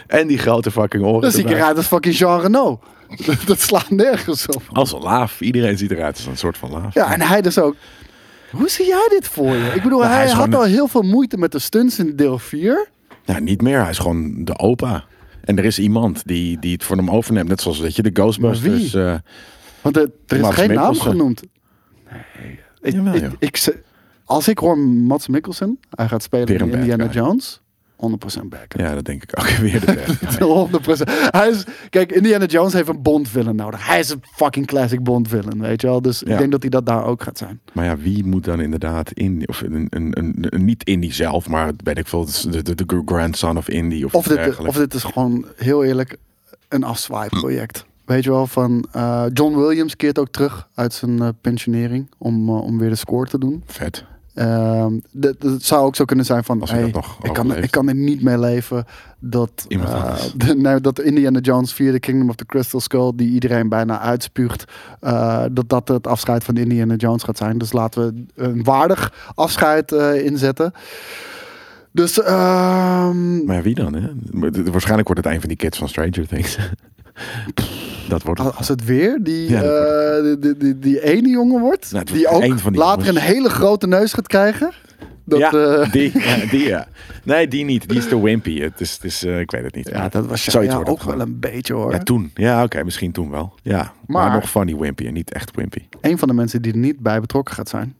En die grote fucking oren. Dan zie ik erbij. eruit als fucking Jean Renault. Dat slaat nergens op. Als een laaf. Iedereen ziet eruit als een soort van laaf. Ja, en hij dus ook. Hoe zie jij dit voor je? Ik bedoel, Nou, hij hij, is had gewoon- al heel veel moeite met de stunts in deel 4. Nou, niet meer. Hij is gewoon de opa. En er is iemand die, die het voor hem overneemt. Net zoals, weet je, de Ghostbusters. eh Want er, er is Mads geen naam Mikkelsen. genoemd. jawel, joh. Ik, ik, ze- als ik hoor Mats Mikkelsen, hij gaat spelen Weer een in bad Indiana guy. Jones, 100% back. ja, dat denk ik ook weer. De beste. 100%. Hij is, kijk, Indiana Jones heeft een Bond villain nodig. Hij is een fucking classic Bond villain, weet je wel. Dus Ja. ik denk dat hij dat daar ook gaat zijn. Maar ja, wie moet dan inderdaad in, of een, een, een, een- niet Indy zelf, maar het weet ik veel, het is de, de, de grandson of Indy of, Of iets dit, dergelijks. of dit is gewoon heel eerlijk een afzwaaiproject. Weet je wel, van eh, John Williams keert ook terug uit zijn eh, pensionering om, eh, om weer de score te doen. Vet. Ehm, dat, dat zou ook zo kunnen zijn van, Als hij hey, dat nog ik, kan, overleeft. ik kan er niet mee leven dat, Iemand eh, anders. de, nou, dat Indiana Jones via de Kingdom of the Crystal Skull, die iedereen bijna uitspuugt, eh, dat dat het afscheid van Indiana Jones gaat zijn. Dus laten we een waardig afscheid eh, inzetten. Dus ehm, Maar wie dan, hè? Maar dit- Waarschijnlijk wordt het een van die kids van Stranger Things. dat wordt Al- het. Als het weer die, Ja, dat eh, die, die, die, die ene jongen wordt, Nou, het die wordt ook één van die later jongens. een hele grote neus gaat krijgen. Dat, ja, eh, die, ja, die ja. Nee, die niet. Die is te wimpy. Het is, het is eh, ik weet het niet. ja, dat was Zoiets ja, ook wordt het wel gewoon. een beetje hoor. Ja, toen. Ja, oké, misschien toen wel. Ja, maar, Maar- nog funny wimpy en niet echt wimpy. Een van de mensen die er niet bij betrokken gaat zijn,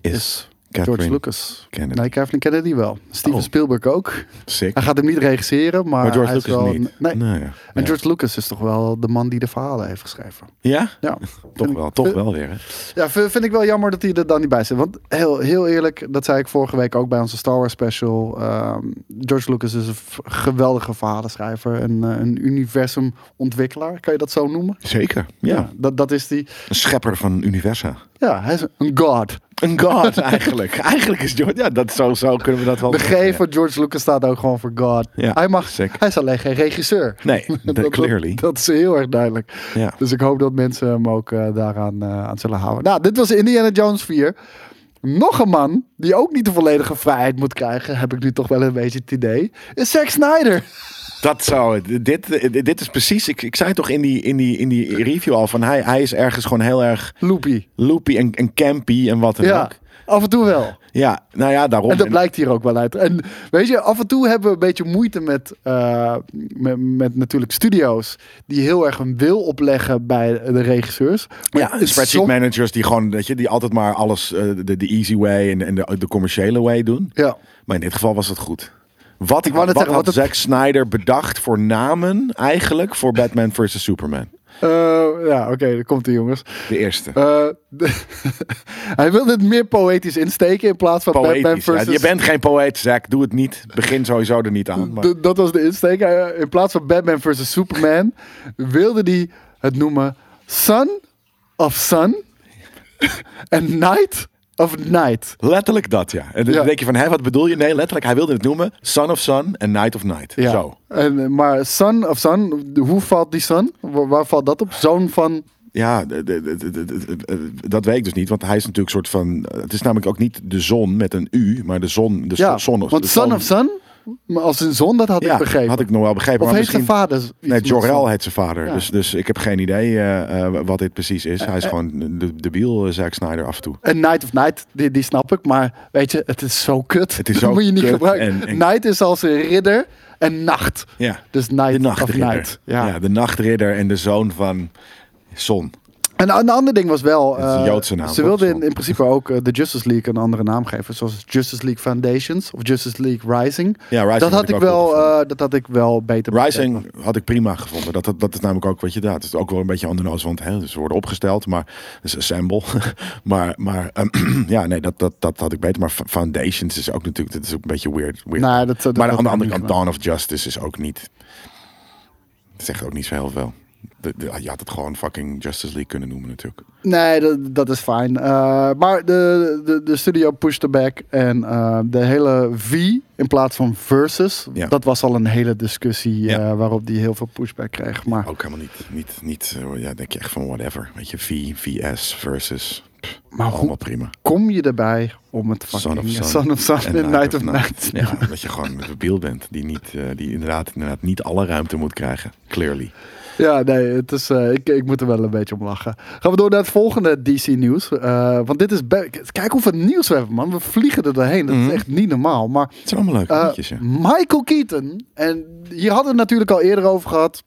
Is, is Catherine George Lucas. Kennedy. Nee, Kathleen Kennedy wel. Steven Oh. Spielberg ook. Sick. Hij gaat hem niet regisseren, maar, maar George Ah, hij is Lucas wel... niet. Nee. Nou, ja. En Ja. George Lucas is toch wel de man die de verhalen heeft geschreven. Ja? Ja, Vind Toch ik- wel, toch wel weer. Hè? Ja, vind, vind ik wel jammer dat hij er dan niet bij zit. Want heel, heel eerlijk, dat zei ik vorige week ook bij onze Star Wars special. ehm, George Lucas is een v- geweldige verhalenschrijver en eh, een universumontwikkelaar. Kan je dat zo noemen? Zeker. ja. dat, dat is die. Een schepper van universa. Ja, hij is een god. Een god eigenlijk. eigenlijk is George... Ja, dat, zo, zo kunnen we dat wel De G zeggen, van George Lucas staat ook gewoon voor god. Ja, hij, mag, zeker. hij is alleen geen regisseur. ja. Nee, de- dat, clearly. Dat, dat is heel erg duidelijk. ja. Dus ik hoop dat mensen hem ook eh, daaraan eh, aan zullen houden. Nou, dit was Indiana Jones 4. Nog een man die ook niet de volledige vrijheid moet krijgen, heb ik nu toch wel een beetje het idee, is Zack Snyder. Dat zou het. Dit, dit is precies... Ik, ik zei toch in die, in, die, in die review al van... Hij, hij is ergens gewoon heel erg Loopy. loopy en, en campy en wat dan Ja, ook. af en toe wel. Ja, nou ja, daarom. En dat En- blijkt hier ook wel uit. En weet je, af en toe hebben we een beetje moeite met, eh, met, met natuurlijk studio's die heel erg een wil opleggen bij de regisseurs. Maar Ja, in spreadsheet som- managers die gewoon, weet je, die altijd maar alles eh, de, de easy way en, en de, de commerciële way doen. Ja. Maar in dit geval was het goed. Wat, Ik wou net wat zeggen, had wat het- Zack Snyder bedacht voor namen eigenlijk voor Batman vs. Superman? Eh, ja, oké, daar komt ie jongens. De eerste. Eh, de- hij wilde het meer poëtisch insteken in plaats van Batman Poëtisch. versus... Ja, je bent geen poëet, Zack. Doe het niet. Begin sowieso er niet aan. Maar... D- Dat was de insteek. Hij- In plaats van Batman versus Superman wilde hij het noemen Son of Sun en Night of Night. Letterlijk dat, ja. En dan Ja. denk je van, hé, wat bedoel je? Nee, letterlijk. Hij wilde het noemen Son of Sun en Night of Night. Ja. Zo. En, eh, maar Son of Sun, de- hoe valt die Sun? Waar, waar valt dat op? Zoon van... Ja, d- d- d- d- d- d- dat weet ik dus niet. Want hij is natuurlijk een soort van... Het is namelijk ook niet de zon met een U, maar de zon. De Ja, zon of, want de Son of Sun, maar als een zon, dat had Ja, ik begrepen. had ik nog wel begrepen. of maar heeft zijn misschien- vader... iets Nee, met Jor-El Sun? heet zijn vader. Ja. Dus, dus ik heb geen idee eh, eh, wat dit precies is. Hij is gewoon de, de biel, Zack Snyder, af en toe. En Night of Night, die, die snap ik, maar weet je, het is zo kut. Het is dat zo moet je niet kut gebruiken. en- en- Night is als een ridder en nacht. Ja. Dus Night De of nachtridder. Night. Ja. de nachtridder en de zoon van Zon. En een ander ding was wel. Het is een eh, Joodse naam, ze toch? wilden in, in principe ook eh, de Justice League een andere naam geven. Zoals Justice League Foundations of Justice League Rising. Ja, Rising dat, had ik wel, gevonden. eh, dat had ik wel beter Rising had ik prima gevonden. Dat, dat, dat is namelijk ook, weet je, dat is ook wel een beetje on the nose, want hè, ze worden opgesteld, maar dat is assemble. maar maar ehm, ja, nee, dat, dat, dat had ik beter. Maar F- Foundations is ook natuurlijk, dat is ook een beetje weird. weird. Nou, dat- dat- maar dat aan de heb ik andere niet kant, Dawn of Justice is ook niet, dat zegt ook niet zo heel veel. De- de- je had het gewoon fucking Justice League kunnen noemen natuurlijk. Nee, dat, dat is fijn. Eh, maar de, de, de studio pushte back. En eh, de hele V in plaats van versus. Ja. Dat was al een hele discussie Ja. eh, waarop die heel veel pushback kreeg. Maar Ook helemaal niet, niet, niet eh, ja, denk je echt van whatever. Weet je, V, VS versus, pff, Maar hoe- allemaal prima. kom je erbij om het fucking Son of Sun, Son of Sun en Night, of Night. Ja, dat je gewoon een debiel bent die, niet, eh, die inderdaad, inderdaad niet alle ruimte moet krijgen. Clearly. Ja, nee, het is, eh, ik, ik moet er wel een beetje om lachen. Gaan we door naar het volgende DC-nieuws. eh, want dit is... be- Kijk hoeveel nieuws we hebben, man. We vliegen er doorheen. Dat Mhm. is echt niet normaal. Maar Het zijn allemaal leuke eh, liedjes. ja. Michael Keaton, en hier hadden we het natuurlijk al eerder over gehad.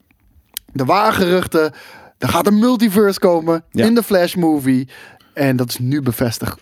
Er waren geruchten. Er gaat een multiverse komen Ja. in de Flash-movie. En dat is nu bevestigd.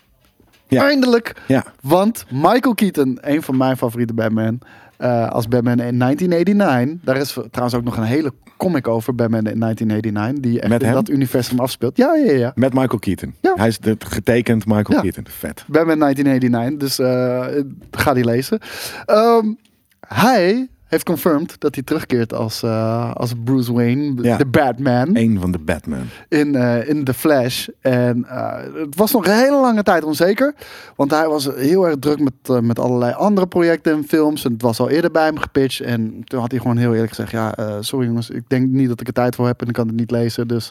Ja. Eindelijk. Ja. Want Michael Keaton, een van mijn favoriete Batman, eh, als Batman in 1989. Daar is trouwens ook nog een hele comic over, Batman in 1989, die echt Met in hem? dat universum afspeelt. Ja, ja, ja. Met Michael Keaton. Ja. Hij is de, getekend Michael Ja. Keaton. Vet. Batman 1989, dus eh, ga die lezen. Ehm, hij heeft confirmed dat hij terugkeert als, eh, als Bruce Wayne, Ja. de Batman, Eén van de Batman. in, eh, in The Flash. En eh, het was nog een hele lange tijd onzeker, want hij was heel erg druk met, eh, met allerlei andere projecten en films. En het was al eerder bij hem gepitcht. En toen had hij gewoon heel eerlijk gezegd, ja, eh, sorry jongens, ik denk niet dat ik er tijd voor heb en ik kan het niet lezen. Dus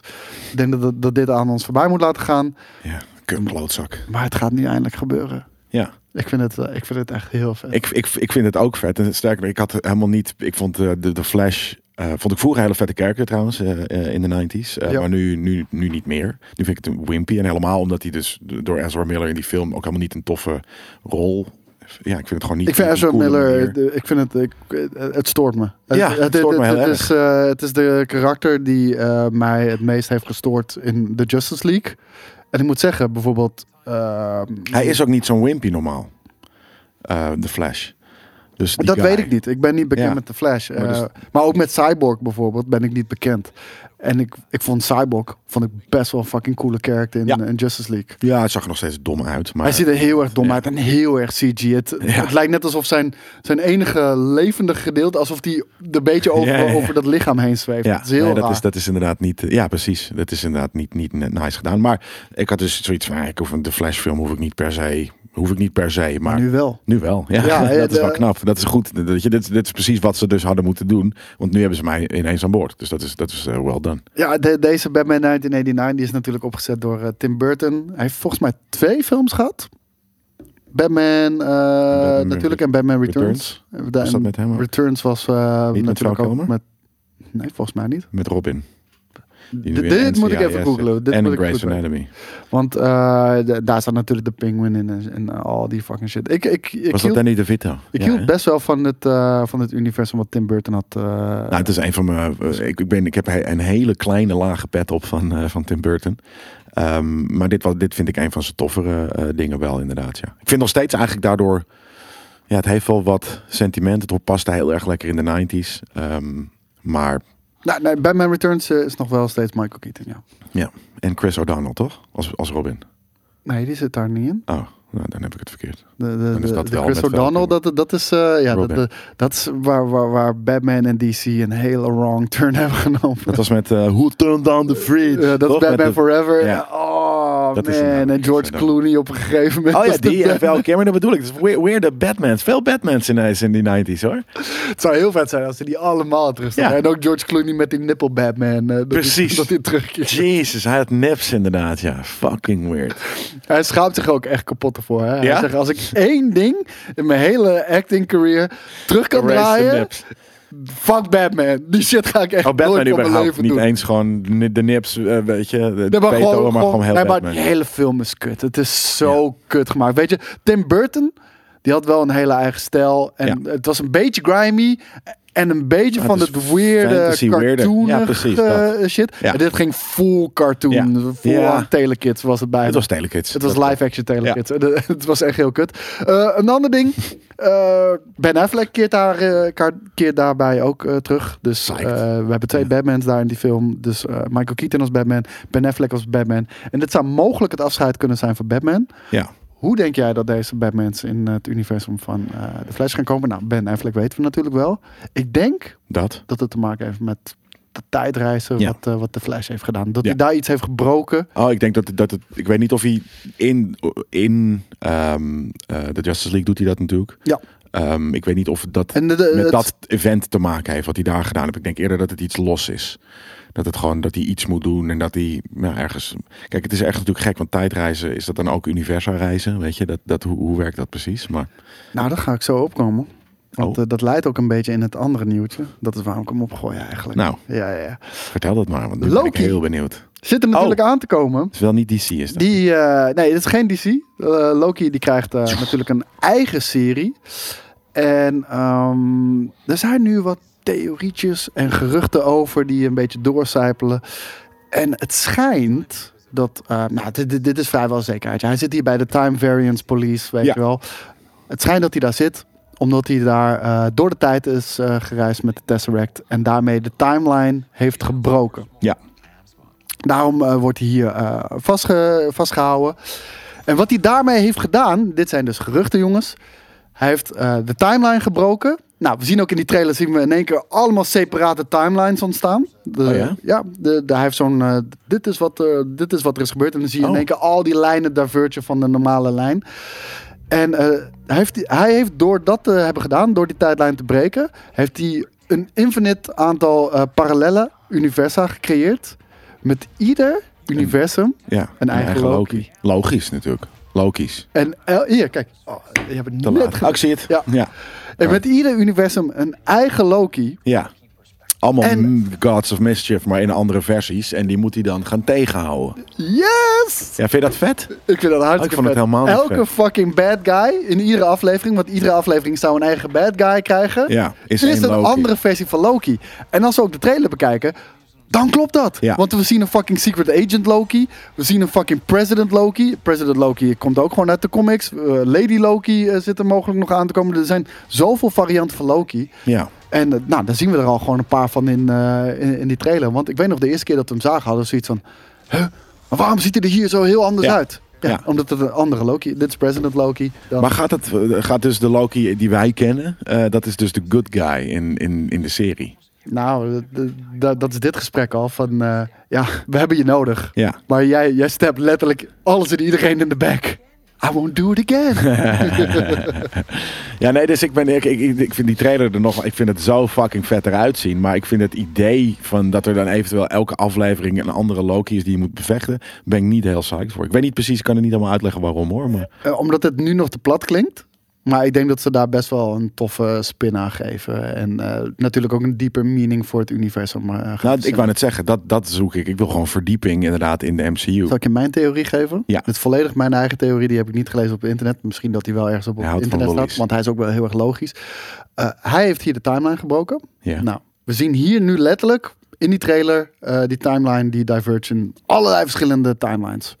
ik denk dat, dat dit aan ons voorbij moet laten gaan. Ja, Mm. kut klootzak. Maar het gaat nu eindelijk gebeuren. Ja. Ik vind het, eh, ik vind het echt heel vet. Ik, ik, ik vind het ook vet. En sterker, nog, ik had helemaal niet. Ik vond eh, de, de Flash. eh, vond ik vroeger een hele vette kerken trouwens eh, eh, in de 90s. Eh, Ja. Maar nu, nu, nu niet meer. Nu vind ik het een wimpy. En helemaal omdat hij dus door Ezra Miller in die film ook helemaal niet een toffe rol. Ja, ik vind het gewoon niet. ik vind niet een Ezra coole Miller, manier. de- ik vind het, ik, het het stoort me. Ja, het stoort me heel erg. Is, eh, het is de karakter die eh, mij het meest heeft gestoord in de Justice League. En ik moet zeggen, bijvoorbeeld... ehm, Hij is ook niet zo'n wimpy normaal. Eh, de Flash. Dus die dat guy. weet ik niet. Ik ben niet bekend Ja. met The Flash. Eh, Maar Maar, dus- ook met Cyborg bijvoorbeeld ben ik niet bekend. En ik, ik vond Cyborg vond ik best wel een fucking coole karakter in, Ja. in Justice League. Ja, het zag er nog steeds dom uit. Maar Hij ziet er heel erg dom Ja. uit en heel erg CG. Het, Ja. het lijkt net alsof zijn, zijn enige levendige gedeelte, alsof die er een beetje over, Ja, ja, ja. over dat lichaam heen zweeft. Ja, dat is heel nee, raar. dat, is, dat is inderdaad niet. eh, Ja, precies. Dat is inderdaad niet, niet net nice gedaan. Maar ik had dus zoiets van: ja, ik hoef een- de Flash film hoef ik niet per se. Hoef ik niet per se. Maar Nu wel. Nu wel, ja. Ja, eh, dat is wel de- knap. Dat is goed. Dat je, dit, dit is precies wat ze dus hadden moeten doen. Want nu hebben ze mij ineens aan boord. Dus dat is, dat is eh, well done. Ja, de- deze Batman 1989 die is natuurlijk opgezet door eh, Tim Burton. Hij heeft volgens mij twee films gehad. Batman, eh, natuurlijk en Batman Returns. Was dat met hem ook? Returns was eh, met natuurlijk Val ook Kilmer? met... Nee, volgens mij niet. Met Robin. Die nu Dit- in dit moet ik NCIS even googlen. zit. Dit En moet in ik Grey's googlen. Anatomy. Want eh, d- daar staat natuurlijk de penguin in en, en al die fucking shit. Ik, ik, ik, Was dat hield, Danny DeVito? ik Ja, hield hè? best wel van het, eh, van het universum wat Tim Burton had. eh, Nou, het is een van mijn. eh, Ik, ik, ben, ik heb he- een hele kleine lage pet op van, eh, van Tim Burton. Ehm, maar dit, wa- dit vind ik een van zijn toffere eh, dingen wel, inderdaad. Ja. Ik vind nog steeds eigenlijk daardoor. Ja, het heeft wel wat sentiment. Het paste heel erg lekker in de 90s. Ehm, maar nou, nee, Batman Returns eh, is nog wel steeds Michael Keaton, ja. ja. En Chris O'Donnell, toch? Als, als Robin. Nee, die zit daar niet in. Oh, nou, dan heb ik het verkeerd. De, de, Dan is de- dat de wel Chris met O'Donnell, Falcon. dat, dat is, eh, ja, dat, Robin. dat- dat is waar, waar, waar Batman en DC een hele wrong turn hebben genomen. Dat was met eh, Who Turned Down the Fridge. Ja, dat is toch? Met Batman de- Forever. Ja. Oh, Dat is hem man. namelijk, En George Chris O'Donnell. Clooney op een gegeven moment. Oh ja, was de die en Batman. Val Kilmer, dat bedoel ik. Dus weer, weer de Batmans. Veel Batmans in, eh, in die 90s hoor. Het zou heel vet zijn als ze die allemaal terug zouden Ja. hebben. En ook George Clooney met die nipple Batman. eh, dat Precies. Hij, dat hij terugkeert. Jezus, hij had neps inderdaad, ja. Fucking weird. Hij schaamt zich ook echt kapot ervoor. Hè? Hij Ja? zegt, als ik één ding in mijn hele acting career terug kan draaien, fuck Batman. Die shit ga ik echt Oh, Batman nooit van mijn überhaupt. leven Niet doen. eens gewoon de de nips, eh, weet je. De Nee, maar peto, gewoon, maar gewoon- gewoon heel nee, maar Batman. die hele film is kut. Het is zo kut gemaakt. Weet je, Tim Burton, die had wel een hele eigen stijl. En Ja. het was een beetje grimy. En een beetje Ja, van het is dat weirde, fantasy, weirde. Ja, precies, cartoonige dat. eh, shit. Ja. En dit ging full cartoon. Ja. Full Ja. aan telekids was het bijna. Het was Telekids. Het was Dat- live action telekids. De- Het was echt heel kut. Eh, een ander ding. eh, ben Affleck keert, daar, eh, ka- keert daarbij ook eh, terug. Dus eh, Psyched. we hebben twee Batmans daar in die film. Dus eh, Michael Keaton als Batman. Ben Affleck als Batman. En dit zou mogelijk het afscheid kunnen zijn van Batman. Ja. Hoe denk jij dat deze Batmans in het universum van eh, de Flash gaan komen? Nou, Ben Affleck weten we natuurlijk wel. Ik denk Dat. dat het te maken heeft met de tijdreizen Ja. wat, eh, wat de Flash heeft gedaan. Dat Ja. hij daar iets heeft gebroken. Oh, ik denk dat, dat het... Ik weet niet of hij in, in ehm, eh, de Justice League doet hij dat natuurlijk. Ja. Ehm, ik weet niet of dat En de- de- met Eh, het- dat event te maken heeft, wat hij daar gedaan heeft. Ik denk eerder dat het iets los is. Dat het gewoon dat hij iets moet doen en dat hij nou, ergens. Kijk, het is echt natuurlijk gek, want tijdreizen is dat dan ook universa reizen? Weet je, dat, dat, hoe, hoe werkt dat precies? Maar Nou, daar ga ik zo opkomen. Want Oh. eh, dat leidt ook een beetje in het andere nieuwtje. Dat is waarom ik hem opgooi eigenlijk. nou, Ja, ja, ja. vertel dat maar, want nu ben ik Loki. heel benieuwd. Het Zit er natuurlijk aan te komen. is wel niet DC, is dat? Die, eh, nee, het is geen DC. Eh, Loki die krijgt eh, natuurlijk een eigen serie. En ehm, er zijn nu wat theorietjes en geruchten over die een beetje doorcijpelen. En het schijnt dat, eh, nou, dit, dit- dit is vrijwel zekerheid. Hij zit hier bij de Time Variance Police, weet Ja. je wel. Het schijnt dat hij daar zit, omdat hij daar eh, door de tijd is eh, gereisd met de Tesseract. En daarmee de timeline heeft gebroken. Ja. Daarom eh, wordt hij hier eh, vastge- vastgehouden. En wat hij daarmee heeft gedaan, dit zijn dus geruchten, jongens. Hij heeft eh, de timeline gebroken. Nou, we zien ook in die trailer zien we in één keer allemaal separate timelines ontstaan. De- Oh ja? de, de- hij heeft zo'n. eh, dit, is wat, eh, dit is wat er is gebeurd. En dan zie je in Oh. één keer al die lijnen divergen van de normale lijn. En eh, hij, heeft, hij heeft door dat te hebben gedaan, door die tijdlijn te breken, heeft hij een infinite aantal eh, parallele universa gecreëerd. Met ieder universum. ja, een eigen Loki. Logisch natuurlijk. Logisch. En el- hier, kijk. Oh, je hebt het Te net laat. ge- Oh, ik zie het. Ja. ja. En met ieder universum een eigen Loki. Ja. Allemaal En- mm, Gods of Mischief, maar in andere versies. En die moet hij dan gaan tegenhouden. Yes! Ja, vind je dat vet? Ik vind dat hartstikke Ik vond het vet. helemaal niet Elke vet. fucking bad guy in iedere aflevering, want iedere aflevering zou een eigen bad guy krijgen. Ja, is is één een Loki. andere versie van Loki. En als we ook de trailer bekijken, dan klopt dat. Ja. Want we zien een fucking Secret Agent Loki. We zien een fucking President Loki. President Loki komt ook gewoon uit de comics. Eh, Lady Loki eh, zit er mogelijk nog aan te komen. Er zijn zoveel varianten van Loki. Ja. En eh, nou, daar zien we er al gewoon een paar van in, eh, in, in die trailer. Want ik weet nog, de eerste keer dat we hem zagen hadden we zoiets van... Huh? Maar waarom ziet hij er hier zo heel anders Ja. uit? Ja, Ja. Omdat het een andere Loki... Dit is President Loki. Dan Maar gaat, het, gaat dus de Loki die wij kennen, eh, dat is dus de good guy in, in, in de serie? Nou, d- d- d- dat is dit gesprek al. Van, eh, ja, we hebben je nodig. Ja. Maar jij, jij stapt letterlijk alles en iedereen in de back. I won't do it again. Ja, nee, dus ik, ben, ik, ik, ik vind die trailer er nog... Ik vind het zo fucking vet eruit zien. Maar ik vind het idee van dat er dan eventueel elke aflevering een andere Loki is die je moet bevechten... ben ik niet heel psyched voor. Ik weet niet precies, ik kan het niet allemaal uitleggen waarom hoor. Maar Eh, omdat het nu nog te plat klinkt. Maar ik denk dat ze daar best wel een toffe spin aan geven. En eh, natuurlijk ook een dieper meaning voor het universum. eh, gaan nou, ik verzinnen. wou net zeggen, dat, dat zoek ik. Ik wil gewoon verdieping inderdaad in de MCU. Zal ik je mijn theorie geven? Ja. Dit is volledig mijn eigen theorie. Die heb ik niet gelezen op het internet. Misschien dat hij wel ergens op Hij het houdt van internet staat. lollies. Want hij is ook wel heel erg logisch. Eh, hij heeft hier de timeline gebroken. Ja. Nou, we zien hier nu letterlijk in die trailer eh, die timeline die divergen. Allerlei verschillende timelines.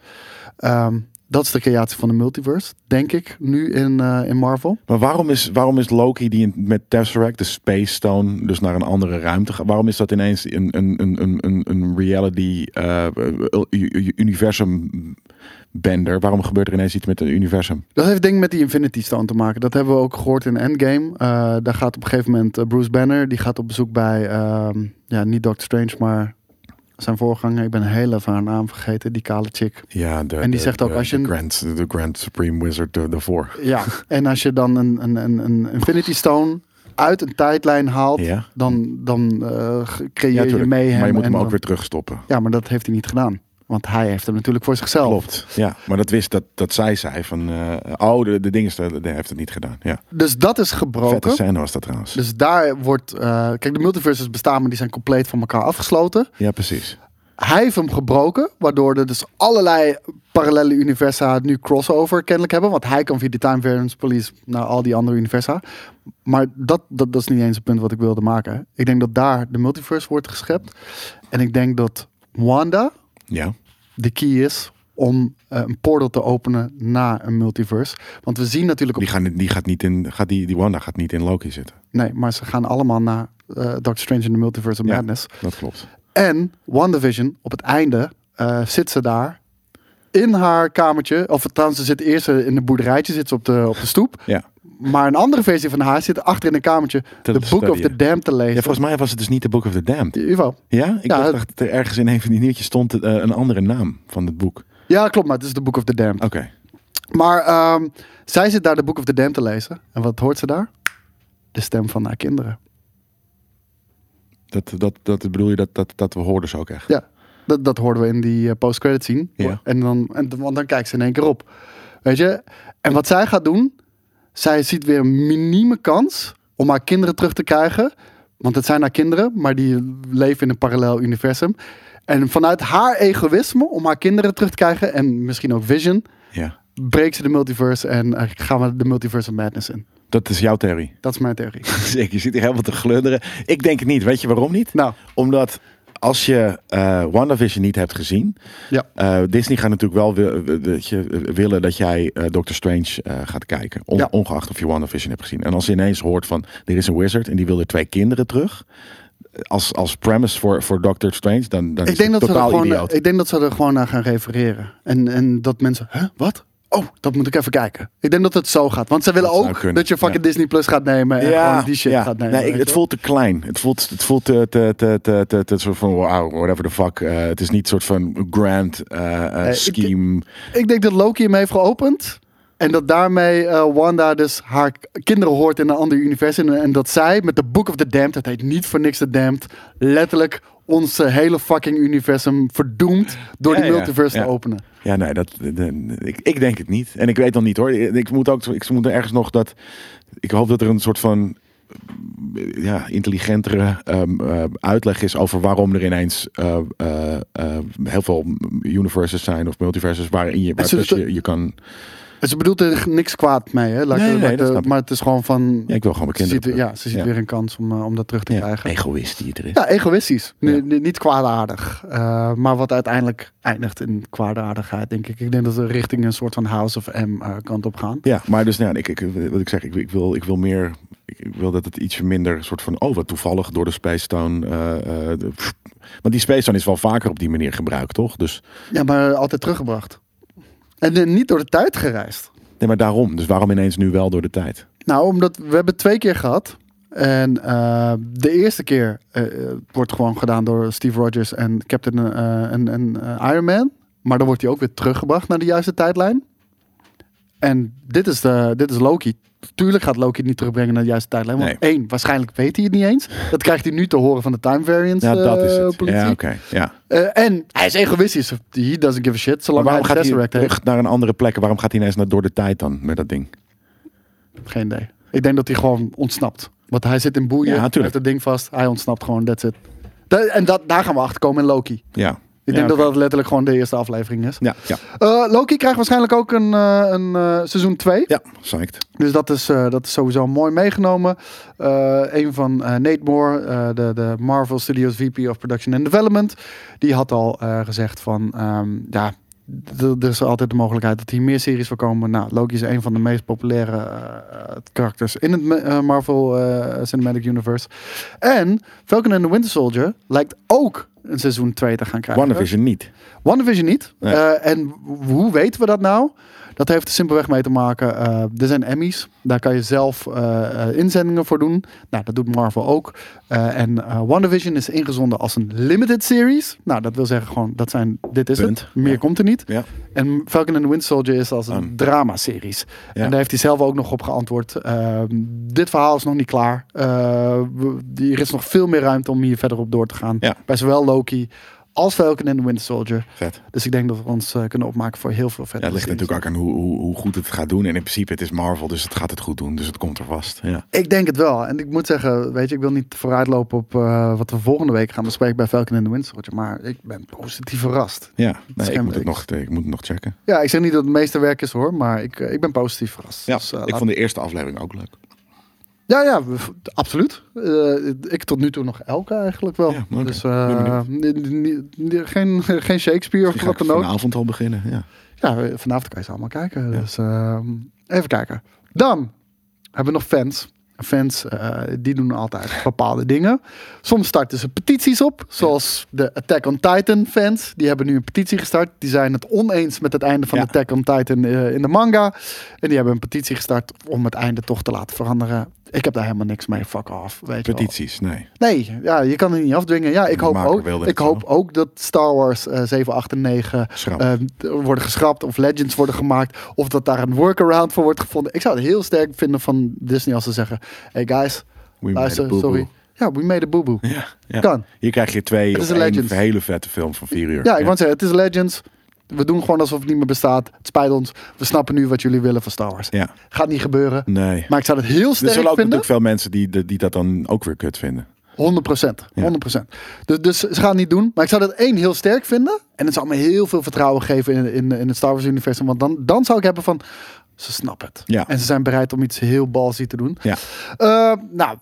Ehm, dat is de creatie van de multiverse, denk ik, nu in, eh, in Marvel. Maar waarom is, waarom is Loki die in- met Tesseract, de Space Stone, dus naar een andere ruimte gaat? Waarom is dat ineens een, een, een, een, een- een reality eh, eh, universum bender? Waarom gebeurt er ineens iets met een universum? Dat heeft denk ik met die Infinity Stone te maken. Dat hebben we ook gehoord in Endgame. Eh, daar gaat op een gegeven moment eh, Bruce Banner. Die gaat op bezoek bij, ehm, ja, niet Doctor Strange, maar zijn voorganger. Ik ben heel even haar naam vergeten, die kale chick. Ja, de, En die zegt ook, als je de een- Grand, de Grand Supreme Wizard eh, daarvoor. Ja, en als je dan een, een, een, een Infinity Stone uit een tijdlijn haalt, Ja. dan, dan eh, ge- creëer je tuurlijk. mee hem. maar je moet en hem ook dan- weer terugstoppen. Ja, maar dat heeft hij niet gedaan. Want hij heeft hem natuurlijk voor zichzelf. Klopt. Ja, maar dat wist dat, dat zij zei van, eh, oh, de, de ding is, er- die heeft het niet gedaan. Ja. Dus dat is Vette gebroken. scène was dat trouwens. Dus daar wordt... eh, kijk, de multiverses bestaan, maar die zijn compleet van elkaar afgesloten. Ja, precies. Hij heeft hem gebroken, waardoor er dus allerlei parallele universa nu crossover kennelijk hebben. Want hij kan via de Time Variance Police naar al die andere universa. Maar dat, dat, dat is niet eens het punt wat ik wilde maken. Ik denk dat daar de multiverse wordt geschept. En ik denk dat Wanda Ja. de key is om eh, een portal te openen naar een multiverse. Want we zien natuurlijk... Op, Die, gaan, die, gaat niet in, gaat die, die Wanda gaat niet in Loki zitten. nee, maar ze gaan allemaal naar eh Doctor Strange in the Multiverse of Ja. Madness. Dat klopt. En WandaVision, op het einde eh, zit ze daar in haar kamertje. Of trouwens, ze zit eerst eh, in een boerderijtje, zit ze op de, op de stoep. Ja. Maar een andere versie van haar zit achter in een kamertje Te de Book of studyen. the Dam te ja. lezen. Volgens mij was het dus niet de Book of the Damned. In ieder geval. Ja? Ik Ja, dacht het- dat er ergens in een van die nieuwtjes stond eh, een andere naam van het boek. Ja, klopt, maar het is de Book of the Dam. Oké. Maar ehm, zij zit daar de Book of the Dam te lezen. En wat hoort ze daar? De stem van haar kinderen. Dat, dat, dat bedoel je, dat, dat, dat we hoorden ze ook echt. Ja, dat, dat hoorden we in die eh, post-credit scene. Ja. En dan, en, dan- want dan kijkt ze in één keer op. Weet je? En wat zij gaat doen, zij ziet weer een minieme kans om haar kinderen terug te krijgen. Want het zijn haar kinderen, maar die leven in een parallel universum. En vanuit haar egoïsme om haar kinderen terug te krijgen en misschien ook Vision, Ja. breekt ze de multiverse en eh, gaan we de multiverse of madness in. Dat is jouw theorie. Dat is mijn theorie. Zeker, je zit hier helemaal te glunderen. Ik denk het niet. Weet je waarom niet? nou, Omdat als je eh WandaVision niet hebt gezien... ja. eh, Disney gaat natuurlijk wel wi- wi- dat je, eh, willen dat jij eh Doctor Strange eh, gaat kijken. On- Ja. Ongeacht of je WandaVision hebt gezien. En als je ineens hoort van, er is een wizard en die wil er twee kinderen terug... Als, als premise voor, voor Doctor Strange, dan, dan Ik is denk, het dat ze er totaal gewoon, eh, idioot. ik denk dat ze er gewoon naar gaan refereren. En, en dat mensen, huh, wat? Oh, dat moet ik even kijken. Ik denk dat het zo gaat. Want ze willen Dat zou ook kunnen, dat je fucking ja. Disney Plus gaat nemen en gewoon die shit gaat nemen. Nee, ik- weet het je voelt te klein. Het voelt, het voelt te, te, te, te, te, te soort van wow, whatever the fuck. Eh, het is niet soort van grand eh, eh, ik- scheme. wel? Ik denk dat Loki hem heeft geopend. En dat daarmee eh, Wanda dus haar k- kinderen hoort in een ander universum. En, en dat zij met de Book of the Damned, het heet niet voor niks de Damned, letterlijk ons eh, hele fucking universum verdoemd door Ja, die ja, multiverse ja. te openen. Ja, nee, dat, de- de- ik, ik denk het niet. En ik weet dan niet hoor. Ik moet ook, ik moet ergens nog dat. Ik hoop dat er een soort van eh, ja, intelligentere ehm, eh, uitleg is over waarom er ineens eh, eh, eh, heel veel universes zijn of multiverses waarin je, waar ze- dus je, je kan. En ze Dus bedoelt er niks kwaad mee, hè? Laat ik- Nee, nee, laat ik- dat snap ik. maar het is gewoon van. Ja, ik wil gewoon Ze bekend. ziet, ja, ze ziet weer een kans om, eh, om dat terug te krijgen. Egoïst die er is. Ja, egoïstisch. Nu, Ja. nu- Niet kwaadaardig. Eh, maar wat uiteindelijk eindigt in kwaadaardigheid, denk ik. Ik denk dat we richting een soort van House of M eh, kant op gaan. Ja, maar dus nou, ja, ik, ik, wat ik zeg, ik, ik, wil, ik wil meer. Ik, ik wil dat het iets minder soort van. Oh, wat toevallig door de Space Stone. eh, eh, de- want die Space Stone is wel vaker op die manier gebruikt, toch? Dus, Ja, maar Eh, altijd teruggebracht. En eh, niet door de tijd gereisd. nee, maar daarom. Dus waarom ineens nu wel door de tijd? Nou, omdat we hebben twee keer gehad. En eh, de eerste keer eh, eh, wordt gewoon gedaan door Steve Rogers en Captain eh, en, en eh, Iron Man. Maar dan wordt hij ook weer teruggebracht naar de juiste tijdlijn. En dit is, de, dit is Loki. Tuurlijk gaat Loki het niet terugbrengen naar de juiste tijdlijn. Want Nee. één, waarschijnlijk weet hij het niet eens. Dat krijgt hij nu te horen van de time variance Ja, dat is eh, het. politie. Ja, oké. Ja. Eh, en hij is egoïstisch. He doesn't give a shit. Maar Zolang hij waarom de gaat hij Tesseract heeft. terug naar een andere plek? Waarom gaat hij ineens naar door de tijd dan met dat ding? Geen idee. Ik denk dat hij gewoon ontsnapt. Want hij zit in boeien, Ja, hij tuurlijk. heeft het ding vast, hij ontsnapt gewoon, that's it. Da- en dat, daar gaan we achter komen in Loki. Ja. Ik denk dat dat letterlijk gewoon de eerste aflevering is. Ja, ja. Eh, Loki krijgt waarschijnlijk ook een, eh, een eh, seizoen 2. Ja, psyched. Dus dat is, eh, dat is sowieso mooi meegenomen. Eh, een van eh, Nate Moore, eh, de, de Marvel Studios VP of Production and Development, die had al eh, gezegd van ehm, ja. d- Er is altijd de mogelijkheid dat hier meer series voor komen. Nou, Loki is een van de meest populaire eh, karakters in het Ma- eh, Marvel eh, Cinematic Universe. En Falcon and the Winter Soldier lijkt ook een seizoen 2 te gaan krijgen. WandaVision niet. WandaVision niet. Nee. Eh, en w- hoe weten we dat nou? Dat heeft er simpelweg mee te maken. eh, er zijn Emmys. Daar kan je zelf eh, eh, inzendingen voor doen. Nou, dat doet Marvel ook. Eh, en eh, WandaVision is ingezonden als een limited series. Nou, dat wil zeggen gewoon, dat zijn, dit is Punt. het. Meer Ja. komt er niet. Ja. En Falcon and the Winter Soldier is als een Aan. drama-series. Ja. En daar heeft hij zelf ook nog op geantwoord. Ehm, dit verhaal is nog niet klaar. Eh, we- er is nog veel meer ruimte om hier verder op door te gaan. Ja. Bij zowel Loki als Falcon en de Winter Soldier. Vet. Dus ik denk dat we ons eh, kunnen opmaken voor heel veel vet. Ja, het ligt natuurlijk ook aan hoe, hoe, hoe goed het gaat doen. En in principe, het is Marvel, dus het gaat het goed doen. Dus het komt er vast. Ja. Ik denk het wel. En ik moet zeggen, weet je, ik wil niet vooruitlopen op eh, wat we volgende week gaan bespreken bij Falcon en de Winter Soldier. Maar ik ben positief verrast. Ja, nee, ik, Scherm- moet het ik- nog, ik moet het nog checken. Ja, ik zeg niet dat het meeste werk is hoor, maar ik, eh, ik ben positief verrast. Ja, Dus, eh, ik laat- vond de eerste aflevering ook leuk. ja, ja, we- absoluut. Eh, ik tot nu toe nog elke eigenlijk wel. Ja, oké. Dus Ben eh, benieuwd. ni- ni- ni- geen, geen Shakespeare Die of ga wat ik dan ook. vanavond al beginnen. Ja. Ja, eh, vanavond kan je ze allemaal kijken. Dus ehm, even kijken. Dan hebben we nog fans. Fans eh, die doen altijd bepaalde dingen. Soms starten ze petities op, zoals de Attack on Titan fans. Die hebben nu een petitie gestart. Die zijn het oneens met het einde van Ja. Attack on Titan eh, in de manga. En die hebben een petitie gestart om het einde toch te laten veranderen. Ik heb daar helemaal niks mee. Fuck off. Weet je wel. Petities, nee. Nee, ja, je kan het niet afdwingen. Ja, ik De hoop, maker ook, wilde ik het hoop ook dat Star Wars eh 7, 8 en 9 Schrapt. eh, worden geschrapt of Legends worden gemaakt. Of dat daar een workaround voor wordt gevonden. Ik zou het heel sterk vinden van Disney als ze zeggen... Hey guys, made a luister, boo-boo. sorry. Ja, we made a boo-boo. Ja, ja. Kan. Hier krijg je twee Het is of een één Legends. hele vette film van vier uur. Ja, ik wou zeggen, het is Legends. We doen gewoon alsof het niet meer bestaat. Het spijt ons. We snappen nu wat jullie willen van Star Wars. Ja. Gaat niet gebeuren. Nee. Maar ik zou het heel er sterk zullen ook vinden. natuurlijk veel mensen die, die, die dat dan ook weer kut vinden. 100 procent. 100 Dus, dus ze gaan het niet doen. Maar ik zou dat één heel sterk vinden. En het zou me heel veel vertrouwen geven in, in, in het Star Wars universum. Want dan, dan zou ik hebben van... Ze snappen het. Ja. En ze zijn bereid om iets heel balzie te doen. Ja. Eh, nou,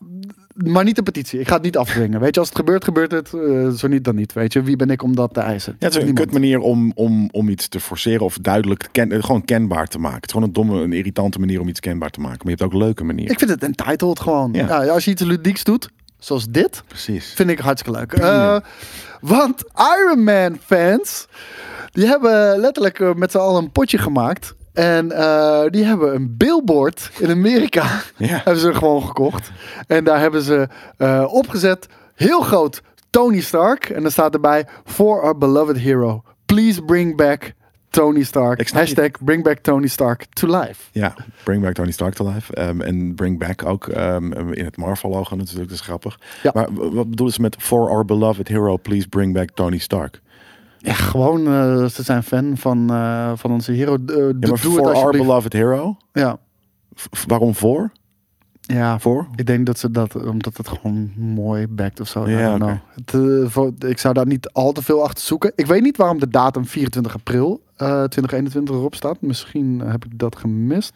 maar niet de petitie. Ik ga het niet afdwingen. Weet je, als het gebeurt, gebeurt het. Eh, zo niet, dan niet. Weet je, wie ben ik om dat te eisen? Ja, het is een Niemand. kut manier om, om, om iets te forceren of duidelijk, te ken, eh, gewoon kenbaar te maken. Het is gewoon een domme, een irritante manier om iets kenbaar te maken. Maar je hebt ook leuke manieren. Ik vind het entitled gewoon. Ja. Ja. als je iets ludieks doet, zoals dit... Precies. Vind ik hartstikke leuk. Eh, want Iron Man fans, die hebben letterlijk eh, met z'n allen een potje gemaakt. En eh, die hebben een billboard in Amerika. Ja. hebben ze gewoon gekocht. En daar hebben ze eh, opgezet, heel groot, Tony Stark. En daar staat erbij, for our beloved hero. Please bring back Tony Stark. Ik snap Hashtag bring back Tony Stark to life. Ja, Bring Back Tony Stark to Life. Ehm, en Bring Back ook ehm, in het Marvel-logo natuurlijk, dat is grappig. Ja. Maar w- wat bedoelen ze met For Our Beloved Hero, Please Bring Back Tony Stark? Ja, gewoon, eh, ze zijn fan van, eh, van onze hero. Eh, doe- Ja, maar doe het For Our alsjeblieft. Beloved Hero? Ja. V- v- waarom voor? Ja, Voor? Ik denk dat ze dat, omdat het gewoon mooi backt of zo. I Ja, don't oké. know. Het, eh, voor- ik zou daar niet al te veel achter zoeken. Ik weet niet waarom de datum 24 april eh, 2021 erop staat. Misschien heb ik dat gemist.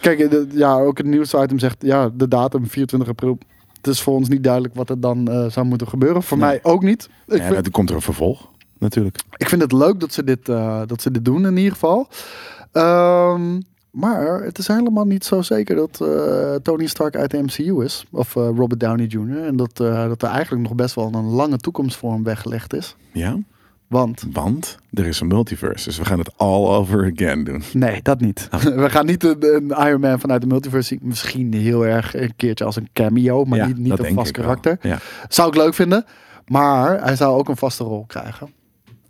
Kijk, eh, de- ja, ook het nieuwsitem zegt, ja, de datum 24 april. Het is voor ons niet duidelijk wat er dan eh, zou moeten gebeuren. Voor Nee. mij ook niet. Ik, Ja, vind, dan komt er een vervolg, natuurlijk. ik vind het leuk dat ze dit, eh, dat ze dit doen in ieder geval. Ehm, maar het is helemaal niet zo zeker dat eh, Tony Stark uit de MCU is. Of eh, Robert Downey Jr. En dat, eh, dat er eigenlijk nog best wel een lange toekomst voor hem weggelegd is. Ja, Want want er is een multiverse, dus we gaan het all over again doen. nee, dat niet. We gaan niet een, een Iron Man vanuit de multiverse zien. Misschien heel erg een keertje als een cameo, maar Ja, niet, niet dat een denk vast ik wel. karakter. Ja. Zou ik leuk vinden. Maar hij zou ook een vaste rol krijgen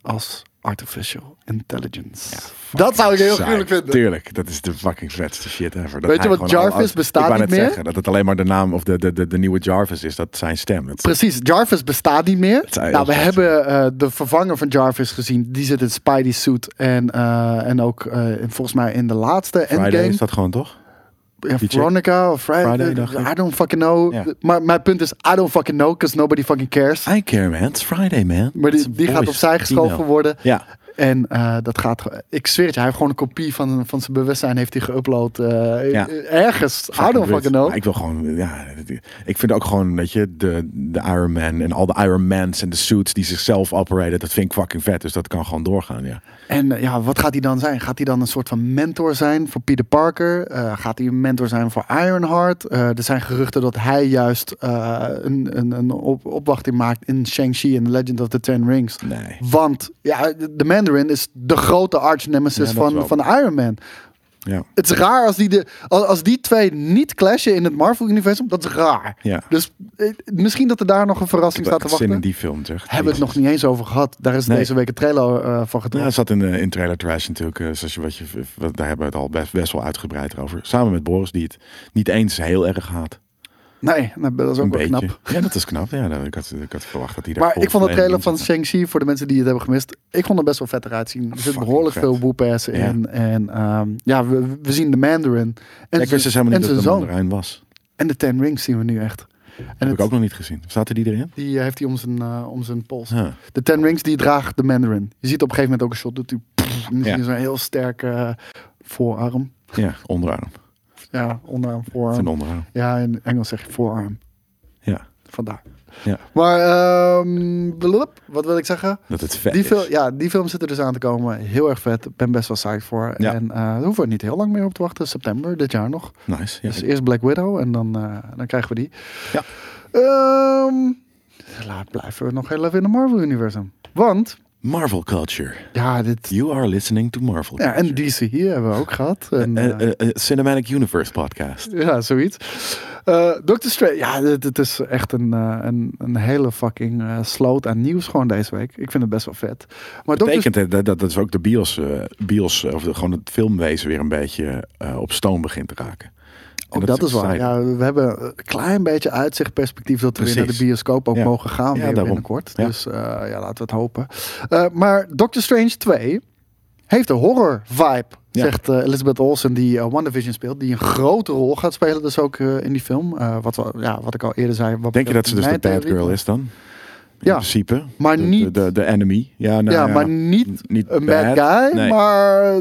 als artificial intelligence. dat zou ik heel Saai. gruwelijk vinden. Tuurlijk, dat is de fucking vetste shit ever. Dat Weet je hij wat, gewoon al- Jarvis al- bestaat ik wou niet net meer? Zeggen, dat het alleen maar de naam of de, de, de, de nieuwe Jarvis is, dat zijn stem. Dat is- Precies, Jarvis bestaat niet meer. zou heel Nou, we vet hebben eh, de vervanger van Jarvis gezien. Die zit in Spidey suit en, eh, en ook eh, in- volgens mij in de laatste Friday Endgame. is dat gewoon toch? Ja, die chick. Veronica of Friday. Friday, dacht ik. I don't fucking know. Ja. Maar mijn punt is, I don't fucking know, because nobody fucking cares. I care man, it's Friday man. Maar It's die, die boys. gaat opzij geschoven Female. worden. Ja, En eh, dat gaat, ge- ik zweer het je, hij heeft gewoon een kopie van, van zijn bewustzijn heeft hij geüpload eh, Ja. ergens. I don't fucking know. Maar Ik wil gewoon, ja, ik vind ook gewoon, weet je, de, de Iron Man en al de Iron Mans en de suits die zichzelf operaten, dat vind ik fucking vet. Dus dat kan gewoon doorgaan, ja. En eh, ja, wat gaat hij dan zijn? Gaat hij dan een soort van mentor zijn voor Peter Parker? Eh, gaat hij een mentor zijn voor Ironheart? Eh, er zijn geruchten dat hij juist eh, een, een, een op- opwachting maakt in Shang-Chi en The Legend of the Ten Rings. Nee. Want ja, de Mandarin is de grote arch-nemesis Ja, dat van, wel. van Iron Man. Ja. Het is raar als die, de, als, als die twee niet clashen in het Marvel-universum. Dat is raar. Ja. Dus eh, misschien dat er daar nog een verrassing staat te zin in wachten. die film, zeg. Hebben we het nog niet eens over gehad. Daar is Nee. deze week een trailer eh, Ja, van gedropt. het zat in, eh, in Trailer Trash natuurlijk, eh, zoals je, wat je, wat, daar hebben we het al best, best wel uitgebreid over. Samen met Boris, die het niet eens heel erg haat. Nee, nou, dat is ook Een wel beetje. knap. Ja, dat is knap. Ja, nou, ik, had, ik had verwacht dat hij daar Maar ik vond de het trailer van Shang-Chi, voor de mensen die het hebben gemist, ik vond het best wel vet eruit zien. Er zit Fucking behoorlijk vet. veel boepass in. Ja. En ehm, ja, we, we zien de Mandarin. En Ik wist dus zijn- helemaal en niet dat zijn het een zoon. mandarijn was. En de Ten Rings zien we nu echt. En Heb het- ik ook nog niet gezien. Zaten die erin? die eh, heeft hij om zijn, eh, om zijn pols. Huh. De Ten Rings die draagt de Mandarin. Je ziet op een gegeven moment ook een shot, doet hij pff, en dan Ja. zie je zo'n heel sterke eh, voorarm. Ja, onderarm. Ja, onderarm, Het is voorarm. een onderarm. Ja, in Engels zeg je voorarm. Ja, Vandaar. Ja. Maar, ehm, blub, wat wil ik zeggen? dat het vet Die, is. fil- ja, die film zit er dus aan te komen. Heel erg vet. Ik ben best wel psyched voor. Ja. En eh daar hoeven we niet heel lang meer op te wachten. September dit jaar nog. Nice. Ja, Dus ik- eerst Black Widow en dan, eh, dan krijgen we die. Ja. Ehm, laat blijven we nog heel even in de Marvel-universum. Want, Marvel Culture. ja, dit... You are listening to Marvel Ja, en Culture. DC hier hebben we ook gehad. En, Eh, eh, eh, eh, Cinematic Universe podcast. Ja, zoiets. Eh Doctor Strange. Ja, dit, dit is echt een, eh, een, een hele fucking eh, sloot aan nieuws gewoon deze week. Ik vind het best wel vet. Maar Doctor Betekent hè, dat, dat, dat is ook de bios, eh, bios eh, of de- gewoon het filmwezen weer een beetje eh, op stoom begint te raken. En Ook Oh, dat, is waar. exciting. Ja, we hebben een klein beetje uitzichtperspectief dat we weer naar de Precies. bioscoop ook Ja. mogen gaan Ja, weer daarom. binnenkort. Ja. Dus eh, ja, laten we het hopen. Eh, maar Doctor Strange 2 heeft een horror vibe. Ja. Zegt eh, Elizabeth Olsen, die One WandaVision speelt, die een grote rol gaat spelen, dus ook eh, in die film. Eh, wat, we- ja, wat ik al eerder zei. Wat Denk je dat ze dus de mijn bad theorie- girl is dan? In Ja. principe. Maar de, de- niet- De, de, enemy. Ja, nou, ja, ja. maar niet N- niet een bad, guy, Nee. maar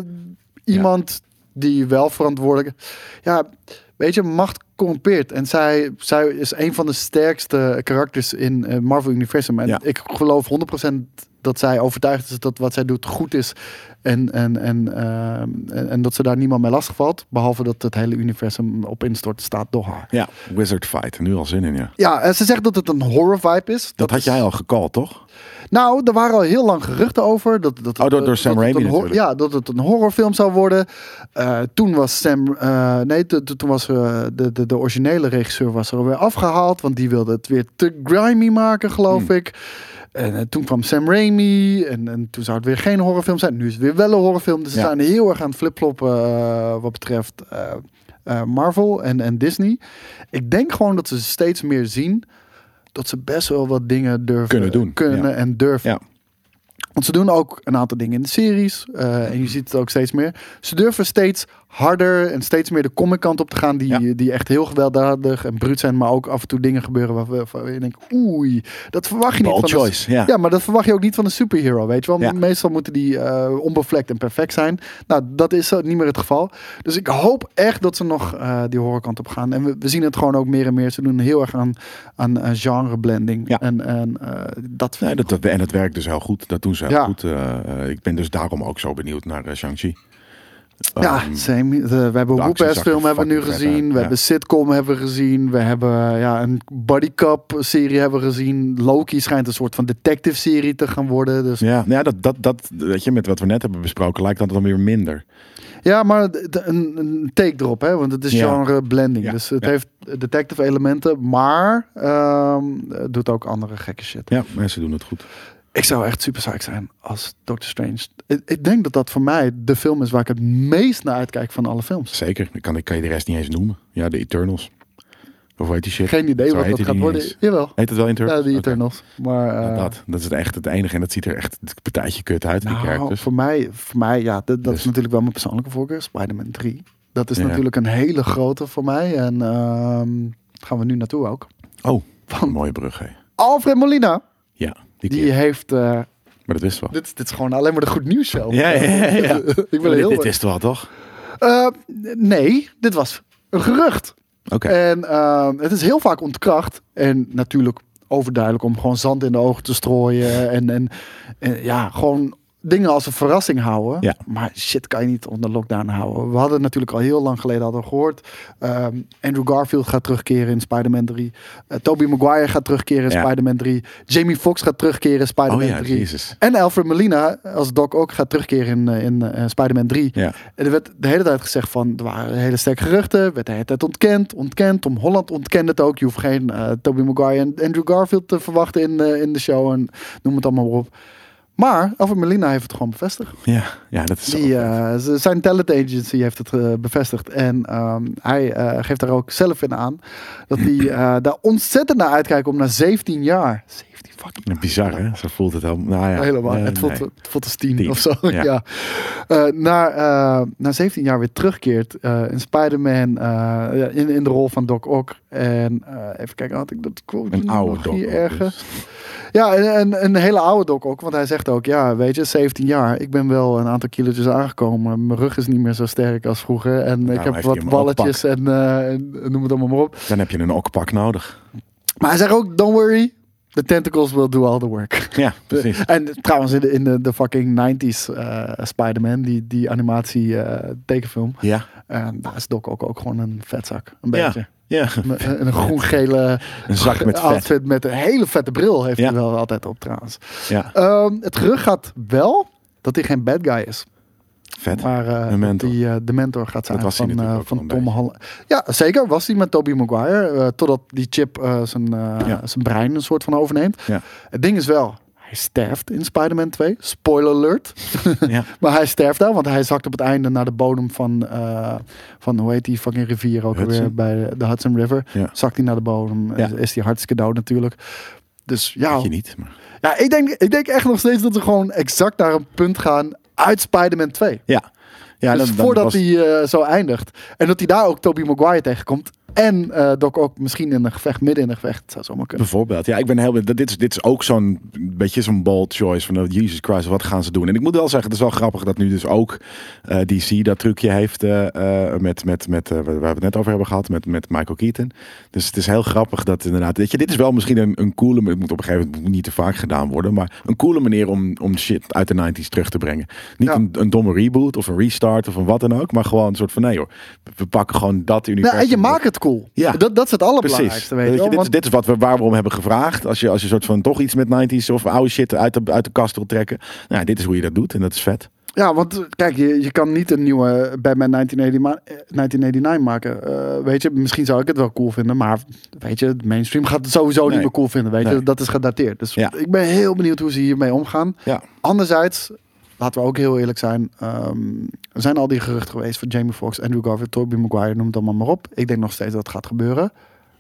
iemand die wel verantwoordelijk. Ja, weet je, macht corrompeert. En zij, zij is een van de sterkste karakters in eh, Marvel Universum. En Ja. ik geloof 100% dat zij overtuigd is dat wat zij doet goed is. En, en, en, ehm, en, en dat ze daar niemand mee lastigvalt. Behalve dat het hele universum op instort staat door haar. Ja, Wizard Fight. Nu al zin in, ja. Dat, Ja, en ze zegt dat het een horror vibe is. Dat, had is- jij al gecallt, toch? nou, er waren al heel lang geruchten over. Dat, dat, Oh, door- door dat- Sam dat het Raimi een hor- natuurlijk. Ja, dat het een horrorfilm zou worden. Eh, toen was Sam... eh, nee, to- to- toen was eh, de, de, de originele regisseur was er weer afgehaald. Want die wilde het weer te grimy maken, geloof Hmm. ik. En eh, toen kwam Sam Raimi. En, en toen zou het weer geen horrorfilm zijn. Nu is het weer wel een horrorfilm. Dus ze Ja. zijn heel erg aan het flipfloppen eh, wat betreft eh, eh, Marvel en, en Disney. Ik denk gewoon dat ze steeds meer zien... Dat ze best wel wat dingen durven Kunnen doen, kunnen ja. en durven. Ja. Want ze doen ook een aantal dingen in de series. eh, Mhm. en je ziet het ook steeds meer. Ze durven steeds harder en steeds meer de comic kant op te gaan. Die, Ja. die echt heel gewelddadig en bruut zijn. Maar ook af en toe dingen gebeuren waar, we- waar je denkt... Oei, dat verwacht je niet Ball van een- choice, ja. ja, maar dat verwacht je ook niet van een superhero, weet je wel. Ja. Meestal moeten die eh, onbevlekt en perfect zijn. Nou, dat is eh, niet meer het geval. Dus ik hoop echt dat ze nog eh, die horrorkant op gaan. En we, we zien het gewoon ook meer en meer. Ze doen heel erg aan, aan eh, genreblending. Ja. En, en eh, dat vind Nee, ik dat, dat- en het werkt dus heel goed. Dat doen ze heel Ja. goed. Eh, eh, ik ben dus daarom ook zo benieuwd naar eh, Shang-Chi. Ja, Ehm, same. De- we hebben actie een zag film er hebben we nu fucking vet gezien. uit, We ja. hebben sitcom hebben we gezien. We hebben ja, een bodycup serie hebben we gezien. Loki schijnt een soort van detective serie te gaan worden. Dus Ja, nou ja dat, dat, dat, weet je, met wat we net hebben besproken, lijkt dat dan weer minder. Ja, maar d- d- een, een take erop, hè? Want het is Ja. genre blending. Ja, Dus het ja. heeft detective elementen, maar ehm, het doet ook andere gekke shit. Ja, mensen doen het goed. Ik zou echt super psyched zijn als Doctor Strange. Ik, ik denk dat dat voor mij de film is waar ik het meest naar uitkijk van alle films. Zeker. Ik kan, ik kan je de rest niet eens noemen. Ja, de Eternals. Of weet die shit? Geen idee Zo wat heet dat die gaat niet worden. eens. Jawel. Heet het wel Eternals? Ja, die Oké. Eternals. Maar eh, Ja, dat. dat is het echt het enige. En dat ziet er echt het partijtje kut uit. die nou, characters. voor mij, voor mij ja, dat, dat is Dus. natuurlijk wel mijn persoonlijke voorkeur. Spider-Man 3. Dat is Ja. natuurlijk een hele grote voor mij. En ehm, gaan we nu naartoe ook. Oh, Van- een mooie brug. Hè. Alfred Molina. Ja, die, Die keer. heeft. eh, Maar dat wist wel. dit, dit is gewoon alleen maar de goed nieuws show. Ja, ja, ja, ja. ik ben Maar heel. dit, dit is het wel, toch? Eh, nee, dit was een gerucht. Oké. En eh, het is heel vaak ontkracht. En natuurlijk overduidelijk om gewoon zand in de ogen te strooien. En, en, en ja, gewoon dingen als een verrassing houden. Ja. Maar shit kan je niet onder lockdown houden. We hadden natuurlijk al heel lang geleden hadden we gehoord. ehm, Andrew Garfield gaat terugkeren in Spider-Man 3. Eh, Tobey Maguire gaat terugkeren in Ja. Spider-Man 3. Jamie Foxx gaat terugkeren in Spider-Man Oh ja, 3. jezus. En Alfred Molina als Doc ook gaat terugkeren in, eh, in eh, Spider-Man 3. Ja. En er werd de hele tijd gezegd van, er waren hele sterke geruchten. Werd de hele tijd ontkend, ontkend. Tom Holland ontkende het ook. Je hoeft geen eh Tobey Maguire en Andrew Garfield te verwachten in, eh, in de show. En noem het allemaal maar op. Maar Alfred Molina heeft het gewoon bevestigd. Ja, ja dat is zo Die, eh, z- zijn talent agency heeft het eh, bevestigd. En ehm, hij eh, geeft daar ook zelf in aan. Dat hij eh, daar ontzettend naar uitkijkt om na 17 jaar. 17 fucking jaar. bizar, hè? Zo voelt het helemaal. Nou ja, Helemaal. eh, het, voelt, nee. het voelt als tien Tien, of zo. Ja. ja. Eh, naar, eh, na 17 jaar weer terugkeert eh, in Spider-Man. eh, ja, in, in de rol van Doc Ock. En eh, even kijken, had ik dat quote Een nu oude nog dok. hier ook, ergens? dus. Ja, en, en een hele oude doc ook. Want hij zegt ook, ja, weet je, 17 jaar. Ik ben wel een aantal kilo's aangekomen. Mijn rug is niet meer zo sterk als vroeger. En ik heeft heb hij wat hem balletjes en, eh, en noem het allemaal maar op. dus. Dan heb je een okpak nodig. Maar hij zegt ook, don't worry. The tentacles will do all the work. Ja, precies. En trouwens, in de, in de, de fucking 90s eh, Spider-Man, die, die animatie eh, tekenfilm. Ja, En daar is Doc ook, ook gewoon een vetzak. Een beetje. ja, ja. Een, een groen-gele Een zak met vet. outfit met een hele vette bril heeft Ja. hij wel altijd op trouwens. Ja, Ehm, het gerucht gaat wel dat hij geen bad guy is. vet. Maar eh, De mentor. die eh, de mentor gaat zijn Dat was hij van, eh, natuurlijk ook van wel een Tom beetje. Holland. Ja, zeker. Was hij met Tobey Maguire. eh, totdat die chip eh, zijn, eh, Ja. zijn brein een soort van overneemt. Ja. Het ding is wel, hij sterft in Spider-Man 2. Spoiler alert. Ja. maar hij sterft daar, want hij zakt op het einde naar de bodem van, eh, van hoe heet die fucking rivier ook Hudson? weer bij de Hudson River. Ja. Zakt hij naar de bodem. Ja. Is hij hartstikke dood natuurlijk. Dus ja, Weet je niet, maar... ja, ik denk, ik denk echt nog steeds dat we gewoon exact naar een punt gaan uit Spider-Man 2. Ja. ja dus dan- dan voordat was- hij eh, zo eindigt. En dat hij daar ook Tobey Maguire tegenkomt. En eh Doc ook misschien in een gevecht, midden in een gevecht. Dat zou zomaar kunnen. Bijvoorbeeld. Ja, ik ben heel benieuwd. Dit is, dit is ook zo'n beetje zo'n bold choice van oh, Jesus Christ, wat gaan ze doen? En ik moet wel zeggen, het is wel grappig dat nu dus ook eh, DC dat trucje heeft eh, eh, met, met, met eh, waar we het net over hebben gehad, met, met Michael Keaton. Dus het is heel grappig dat inderdaad, weet je, dit is wel misschien een, een coole, het moet op een gegeven moment niet te vaak gedaan worden, maar een coole manier om, om shit uit de 90s terug te brengen. Niet Ja. een, een domme reboot of een restart of een wat dan ook, maar gewoon een soort van nee joh, we pakken gewoon dat universum. Nou, en je wat- maakt het cool. Ja. Dat, dat is het allerbelangrijkste. Weet je, Weet je, wel, dit, is, want- dit is wat we, waar we om hebben gevraagd. Als je, als je soort van toch iets met 90s of oude shit uit de, uit de kast wil trekken. Nou, dit is hoe je dat doet en dat is vet. Ja, want eh, kijk, je, je kan niet een nieuwe Batman 1980 ma- eh, 1989 maken. Eh, weet je, misschien zou ik het wel cool vinden, maar weet je, het mainstream gaat het sowieso niet Nee. meer cool vinden. Weet je, Nee. dat is gedateerd. Dus Ja. ik ben heel benieuwd hoe ze hiermee omgaan. Ja. Anderzijds, laten we ook heel eerlijk zijn, ehm, er zijn al die geruchten geweest van Jamie Foxx, Andrew Garfield, Tobey Maguire, noem het allemaal maar op. Ik denk nog steeds dat het gaat gebeuren.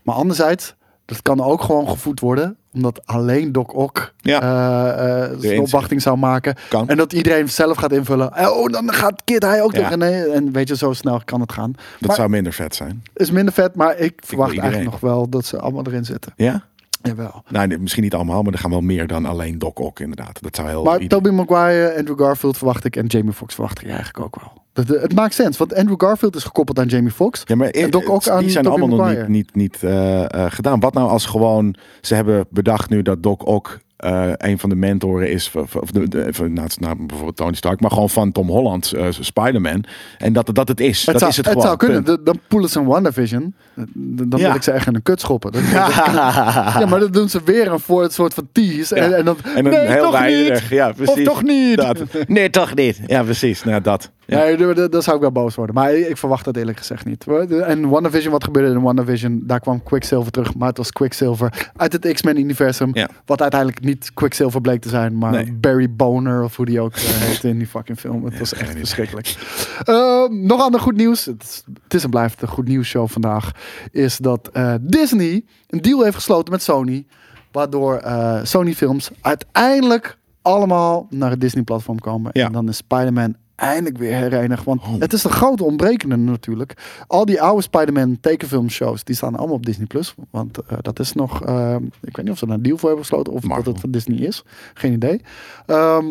Maar anderzijds, dat kan ook gewoon gevoed worden, omdat alleen Doc Ock Ja. eh, eh, Erin zo'n opwachting zou maken. Kan. En dat iedereen zelf gaat invullen. Eh, Oh, dan gaat Kid hij ook Ja. tegen. Nee, en weet je, zo snel kan het gaan. Dat maar zou minder vet zijn. is minder vet, maar ik verwacht iedereen. eigenlijk nog wel dat ze allemaal erin zitten. Ja? Jawel. Nou, nee, misschien niet allemaal, maar er gaan wel meer dan alleen Doc Ock inderdaad. Dat zou heel... Maar ieder- Tobey Maguire, Andrew Garfield verwacht ik en Jamie Foxx verwacht ik eigenlijk ook wel. Dat, eh, het maakt sens, want Andrew Garfield is gekoppeld aan Jamie Foxx. Ja, maar en het- Doc het- Ock aan die zijn Tobey allemaal nog Maguire. niet, niet, niet eh, eh, gedaan. Wat nou als gewoon... Ze hebben bedacht nu dat Doc Ock eh, een van de mentoren is... Van, van- de, de- van- nou, het is nou bijvoorbeeld Tony Stark, maar gewoon van Tom Holland, eh, Spider-Man. En dat, dat het is. Het dat zou, is het, het gewoon. zou kunnen. Punt. Dan- Dan poelen ze een WandaVision. Dan dan Ja. wil ik ze echt in een kut schoppen. Dat- ja, maar dan doen ze weer een voor, soort van tease. En, Ja. en dan, En een nee, heel toch weinig. niet. Ja, precies. Nou, Of toch niet. Dat. Nee, toch niet. Ja, precies. Nou, dat. Ja. Nee, daar- daar- daar zou ik wel boos worden. Maar ik, ik verwacht dat eerlijk gezegd niet. En WandaVision, wat gebeurde in WandaVision? Daar kwam Quicksilver terug, maar het was Quicksilver uit het X-Men-universum. Ja. Wat uiteindelijk niet Quicksilver bleek te zijn, maar Nee. Barry Boner of hoe die ook eh, heette in die fucking film. Het was geen echt idee. verschrikkelijk. Ehm, nog ander goed nieuws. Het is, het is en blijft een goed nieuws show vandaag. Is dat eh, Disney een deal heeft gesloten met Sony. Waardoor eh, Sony films uiteindelijk allemaal naar het Disney platform komen. Ja. En dan is Spider-Man eindelijk weer herenigd. Want het is de grote ontbrekende natuurlijk. Al die oude Spider-Man tekenfilmshows, die staan allemaal op Disney+. Plus. Want eh, dat is nog... eh, ik weet niet of ze daar een deal voor hebben gesloten. Of dat Marvel. het van Disney is. Geen idee. Ehm,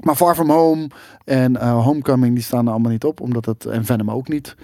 maar Far From Home en eh, Homecoming, die staan er allemaal niet op. Omdat het, en Venom ook niet.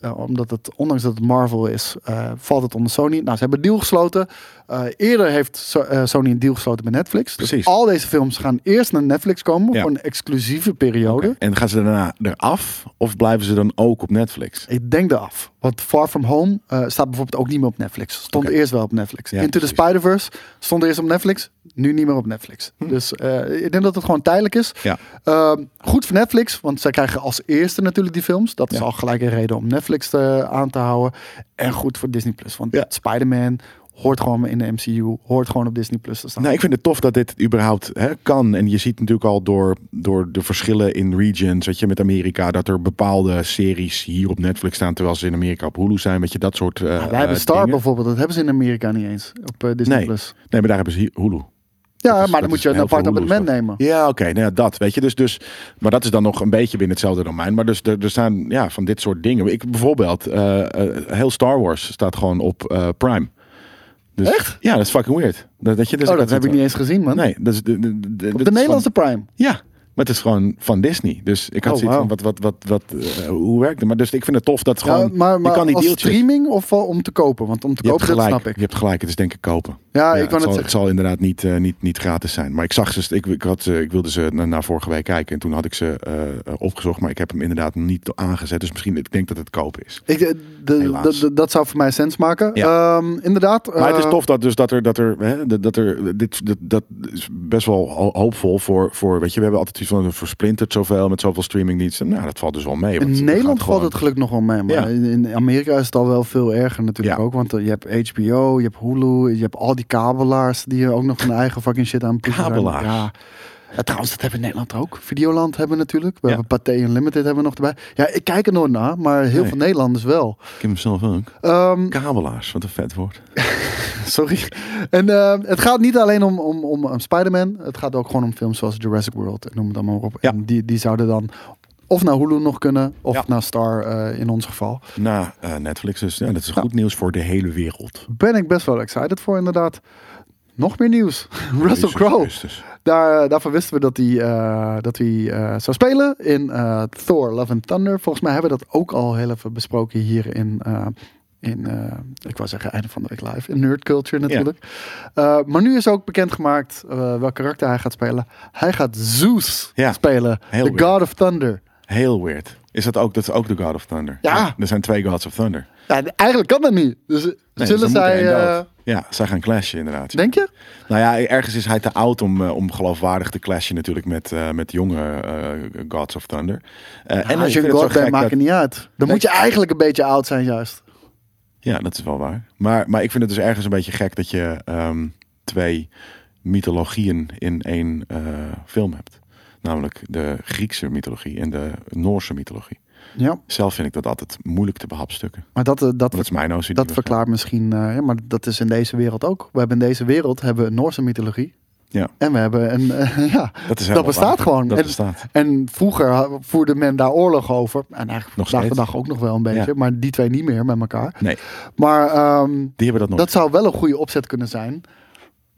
Eh, omdat het, ondanks dat het Marvel is, eh, valt het onder Sony. Nou, ze hebben een deal gesloten. Eh, eerder heeft So- eh, Sony een deal gesloten met Netflix. Dus Precies. al deze films gaan eerst naar Netflix komen Ja. voor een exclusieve periode. En gaan ze daarna eraf of blijven ze dan ook op Netflix? Ik denk eraf. Want Far From Home eh, staat bijvoorbeeld ook niet meer op Netflix. Stond Oké. eerst wel op Netflix. Ja, Into the precies. Spider-Verse stond eerst op Netflix. Nu niet meer op Netflix. Dus eh, ik denk dat het gewoon tijdelijk is. Hm. Ja. Ehm, goed voor Netflix, want zij krijgen als eerste natuurlijk die films. Dat is Ja. eh, al gelijk een reden om Netflix te- aan te houden. En goed voor Disney Plus, want Ja. Spider-Man Hoort gewoon in de MCU. Hoort gewoon op Disney Plus te staan. Nou, ik vind het tof dat dit überhaupt hè, kan. En je ziet natuurlijk al door, door de verschillen in regions, weet je, met Amerika, dat er bepaalde series hier op Netflix staan, terwijl ze in Amerika op Hulu zijn, weet je, dat soort. eh Nou, Wij hebben eh, Star dingen. bijvoorbeeld. Dat hebben ze in Amerika niet eens op eh, Nee, Disney nee, Plus. maar daar hebben ze hier Hulu. Ja, dat is- maar Dus dat dan moet is je een heel veel apart Hulu's abonnement dat. nemen. Ja, oké, nou ja, dat, weet je. Dus, dus, maar dat is dan nog een beetje binnen hetzelfde domein. Maar dus er, er staan ja, van dit soort dingen. Ik bijvoorbeeld, eh, eh, heel Star Wars staat gewoon op eh, Prime. Dus, Echt? Ja, dat is fucking weird. Dat, dat, je, dus oh, dat heb ik niet eens gezien, man. Nee, dat is de, de, de- dat op is de van- Nederlandse Prime. Ja, maar het is gewoon van Disney. Dus ik had Oh, zoiets van, wauw. wat, wat, wat, wat, eh, hoe werkt het? Maar dus ik vind het tof dat Ja, gewoon, maar maar je kan die als deeltjes... streaming of wel om te kopen? Want om te je hebt kopen, dat gelijk, snap ik. je hebt gelijk. Het is denk ik kopen. Ja, ik het, wou net zal, zeggen. het zal inderdaad niet, eh, niet, niet gratis zijn. Maar ik zag ze, ik, ik, had, ze- ik wilde ze na, na vorige week kijken. En toen had ik ze eh, eh, opgezocht, maar ik heb hem inderdaad niet aangezet. Dus misschien, ik denk dat het kopen is. Ik, de- de- Helaas. de- de- dat zou voor mij sens maken. Ja. Ehm, inderdaad. Maar het is eh, tof dat, dus dat er, dat er, hè, dat- dat er dit, dat, dat is best wel ho- hoopvol voor, voor, weet je, we hebben altijd iets van een versplinterd zoveel met zoveel streamingdiensten. Nou, dat valt dus wel mee. want In het Nederland gaat gewoon- valt het gelukkig nog wel mee. Maar Ja. in- in Amerika is het al wel veel erger natuurlijk Ja. ook. Want eh, je hebt HBO, je hebt Hulu, je hebt al die kabelaars die eh, ook nog hun eigen fucking shit aan het pushen zijn. Kabelaars. Ja. Eh, trouwens, dat hebben we in Nederland ook. Videoland hebben we natuurlijk. We Ja. hebben Pathé Unlimited hebben we nog erbij. Ja, ik kijk er nooit naar, maar heel Nee. veel Nederlanders wel. Ik heb hem zelf ook. Ehm, Kabelaars, wat een vet woord. sorry. En eh, het gaat niet alleen om, om, om, eh, Spider-Man. Het gaat ook gewoon om films zoals Jurassic World. en Noem het allemaal maar op. Ja. En die, die zouden dan of naar Hulu nog kunnen, of Ja. naar Star eh, in ons geval. Na eh, Netflix, dus ja, dat is goed nieuws voor de hele wereld. ben ik best wel excited voor, inderdaad. Nog meer nieuws. Russell Jezus Crowe. Christus. Daar, daarvan wisten we dat hij, eh, dat hij eh, zou spelen in eh, Thor Love and Thunder. Volgens mij hebben we dat ook al heel even besproken hier in... eh, in, eh, ik wou zeggen, einde van de week live. In Nerd Culture natuurlijk. Eh, maar nu is ook bekendgemaakt eh welk karakter hij gaat spelen. Hij gaat Zeus Ja, spelen. heel The weird. God of Thunder. Heel weird. Is dat ook, dat is ook de God of Thunder? Ja. Er zijn twee Gods of Thunder. Nee, Ja, eigenlijk kan dat niet. Dus eh, dus zullen er moet er zij... één eh, dood. ja, zij gaan clashen inderdaad. denk je? Nou ja, ergens is hij te oud om, eh, om geloofwaardig te clashen natuurlijk met, eh, met jonge eh, Gods of Thunder. Eh, En ik als je vind een het zo god bent, gek maakt dat- het niet uit. Dan moet je eigenlijk een beetje oud zijn, juist. Ja, dat is wel waar. Maar, maar ik vind het dus ergens een beetje gek dat je ehm, twee mythologieën in één eh, film hebt. Namelijk de Griekse mythologie en de Noorse mythologie. Ja, Zelf vind ik dat altijd moeilijk te behapstukken. maar dat, eh, dat, Maar dat is mijn notie. dat verklaart misschien... eh, ja, maar dat is in deze wereld ook. We hebben in deze wereld hebben we een Noorse mythologie. Ja. En we hebben een... eh, ja, Dat, is dat helemaal bestaat waar. gewoon. Dat en, bestaat. en vroeger ha- voerde men daar oorlog over. En eigenlijk Nog vandaag de steeds. dag ook nog wel een beetje. Ja. Maar die twee niet meer met elkaar. Nee, Maar ehm, die hebben dat nog. dat zou wel een goede opzet kunnen zijn.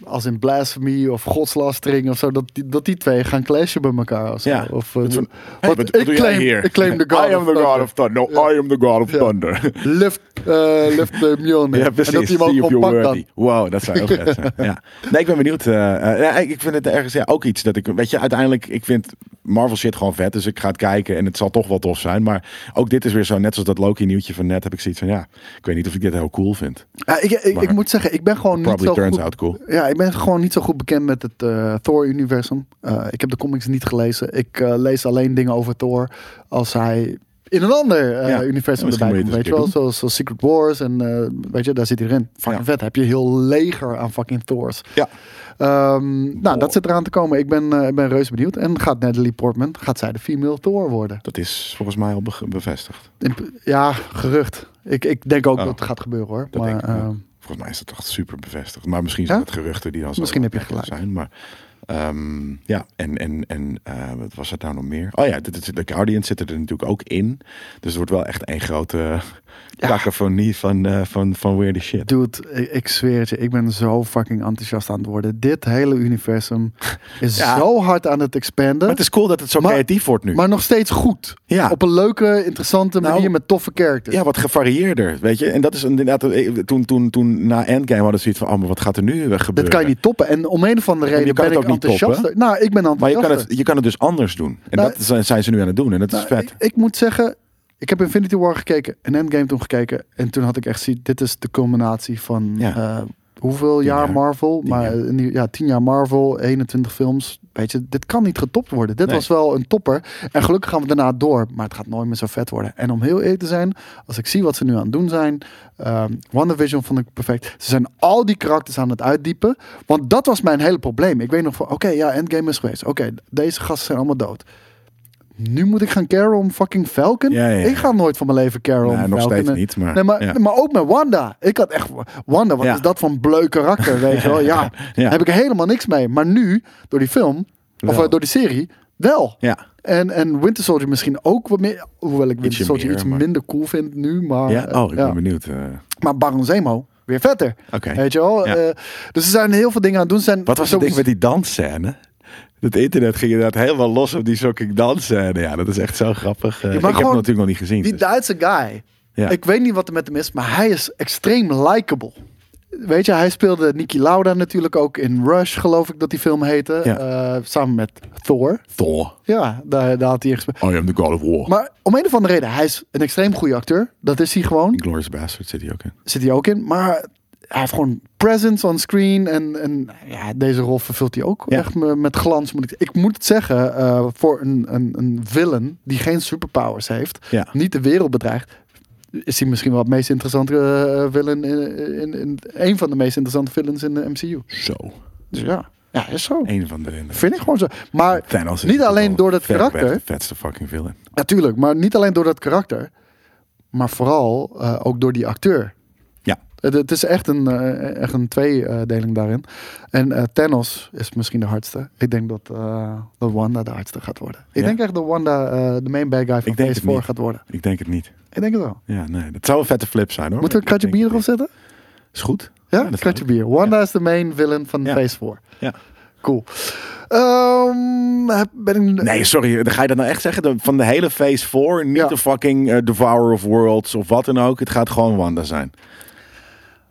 Als in blasphemy of godslastering of zo. Dat die, dat die twee gaan clashen bij elkaar. Of zo. Ja. Of, eh, Dat van- want Hey, wat- wat ik, doe jij claim, hier? ik claim de God I am of the God Thunder. of Thunder. No, I am the God of Thunder. Lift, eh lift the Mjolnir. Ja, precies. En dat hij hem ook See if gewoon you're pakt worthy. dan. Wow, dat zou heel vet zijn. Ja. Nee, ik ben benieuwd. eh, eh, ja, ik ik vind het ergens ja, ook iets dat ik... Weet je, uiteindelijk, ik vind Marvel shit gewoon vet. Dus ik ga het kijken en het zal toch wel tof zijn. Maar ook dit is weer zo, net zoals dat Loki nieuwtje van net, heb ik zoiets van, ja, ik weet niet of ik dit heel cool vind. Ja, ik, ik, ik Maar- moet zeggen, ik ben gewoon niet Probably zo turns goed, out cool. Ja, ik ben gewoon niet zo goed bekend met het eh, Thor-universum. Eh, ik heb de comics niet gelezen. Ik eh, lees alleen dingen over Thor als hij in een ander eh, Ja. universum Ja, misschien moet je erbij het eens komt. een Weet je keer wel, doen. zoals, zoals Secret Wars en eh, weet je, daar zit hij erin. Fucking Ja. vet, heb je heel leger aan fucking Thors. Ja. Ehm, nou, Wow. dat zit eraan te komen. Ik ben, eh, ik ben reuze benieuwd. En gaat Natalie Portman, gaat zij de female Thor worden? Dat is volgens mij al be- bevestigd. In- ja, gerucht. Ik, ik denk ook Oh. dat het gaat gebeuren hoor. Dat maar, denk ik, ja. ehm, Volgens mij is dat toch super bevestigd. Maar misschien zijn Ja? het geruchten die dan zo Misschien heb je opmerkelijk zijn. gelijk. Maar ehm, ja, en, en, en eh, wat was het nou nog meer? Oh ja, dit, is- de Guardians zitten er natuurlijk ook in. Dus het wordt wel echt één grote Ja. kakofonie van, eh van, van weird shit. Dude, ik, ik zweer het je, ik ben zo fucking enthousiast aan het worden. Dit hele universum is Ja. zo hard aan het expanden. Maar Maar, het is cool dat het zo Maar- creatief wordt nu. nog steeds goed. Ja. Op een leuke, interessante Nou, manier met toffe characters. Ja, wat gevarieerder, weet je. En dat is inderdaad, eh, toen, toen, toen na Endgame hadden ze iets van, oh, maar wat gaat er nu weer gebeuren? dat kan je niet toppen. En om een of andere je reden kan ben ik het ook niet toppen. enthousiaster. Nou, ik ben enthousiaster. Maar je kan, het, je kan het dus anders doen. En Nou, dat zijn- zijn ze nu aan het doen. En dat is Nou, vet. Ik, ik moet zeggen, ik heb Infinity War gekeken en Endgame toen gekeken. En toen had ik echt zien, dit is de culminatie van Ja. eh, hoeveel Tien jaar, jaar. Marvel. Tien maar jaar. eh, nu- ja, 10 jaar Marvel, 21 films. Weet je, dit kan niet getopt worden. Dit Nee. was wel een topper. En gelukkig gaan we daarna door. Maar het gaat nooit meer zo vet worden. En om heel eerlijk te zijn, als ik zie wat ze nu aan het doen zijn. ehm WandaVision vond ik perfect. Ze zijn al die karakters aan het uitdiepen. Want dat was mijn hele probleem. Ik weet nog van, oké, ja, Endgame is geweest. Oké, deze gasten zijn allemaal dood. Nu moet ik gaan caren om fucking Falcon? Ja, ja, ja. Ik ga nooit van mijn leven caren om Nee, nog Falcon. steeds niet, maar- nee, maar, ja. maar ook met Wanda. Ik had echt... Wanda, wat Ja. is dat voor een bleu karakter, weet je wel? Ja, Ja. heb ik er helemaal niks mee. Maar nu, door die film, of Wel. eh, door die serie, wel. Ja. En, en Winter Soldier misschien ook wat meer... Hoewel ik Winter Soldier meer, iets maar- minder cool vind nu, maar... Ja? eh, Oh, ik ben ja. benieuwd. eh. Maar Baron Zemo, weer vetter. Oké. Weet je wel? Ja. Eh, dus er zijn heel veel dingen aan het doen. Ze Zijn Wat was het sowieso- ding met die dansscène? Het internet ging inderdaad helemaal los op die shocking dansscène. Ja, dat is echt zo grappig. Eh, maar ik heb hem gewoon natuurlijk nog niet gezien. Die dus- Duitse guy. Ja. Ik weet niet wat er met hem is, maar hij is extreem likable. Weet je, hij speelde Niki Lauda natuurlijk ook in Rush, geloof ik dat die film heette. Ja. eh, samen met Thor. Thor, Ja, daar, daar had hij echt gespeeld. I am the God of War. Maar om een of andere reden, hij is een extreem goede acteur. Dat is hij gewoon. Glorious Bastard zit hij ook in. Zit hij ook in. Maar hij heeft gewoon presence on screen. En, en ja, deze rol vervult hij ook Ja. echt me- met glans. Moet ik, ik moet het zeggen, eh, voor een, een, een villain die geen superpowers heeft. Ja. Niet de wereld bedreigt. Is hij misschien wel het meest interessante eh, villain in, in, in- een van de meest interessante villains in de MCU. Zo. Dus ja, ja is zo. Een van de... Vind ik gewoon zo. Maar Thanos is niet alleen natuurlijk wel door dat ver weg karakter. de vetste fucking villain. Natuurlijk, maar niet alleen door dat karakter. Maar vooral eh, ook door die acteur. Ja. Het, het is echt een, eh, echt een tweedeling daarin. En eh, Thanos is misschien de hardste. Ik denk dat, eh, dat Wanda de hardste gaat worden. Ik Ja? denk echt dat Wanda eh, de main bad guy van Ik denk Phase het 4 niet. Oh, gaat worden. Ik denk het niet. Ik denk het wel. Ja, nee. Dat zou een vette flip zijn hoor. Moeten we een kratje bier erop of zetten? Is goed. Ja, dat een kan. kratje bier. Wanda is de main villain van Ja. Phase 4. Ja. Cool. Ehm, heb- ben ik... Nee, sorry. Ga je dat nou echt zeggen? De- Van de hele Phase 4, niet Ja. de fucking eh, Devourer of Worlds of wat dan ook. Het gaat gewoon Wanda zijn.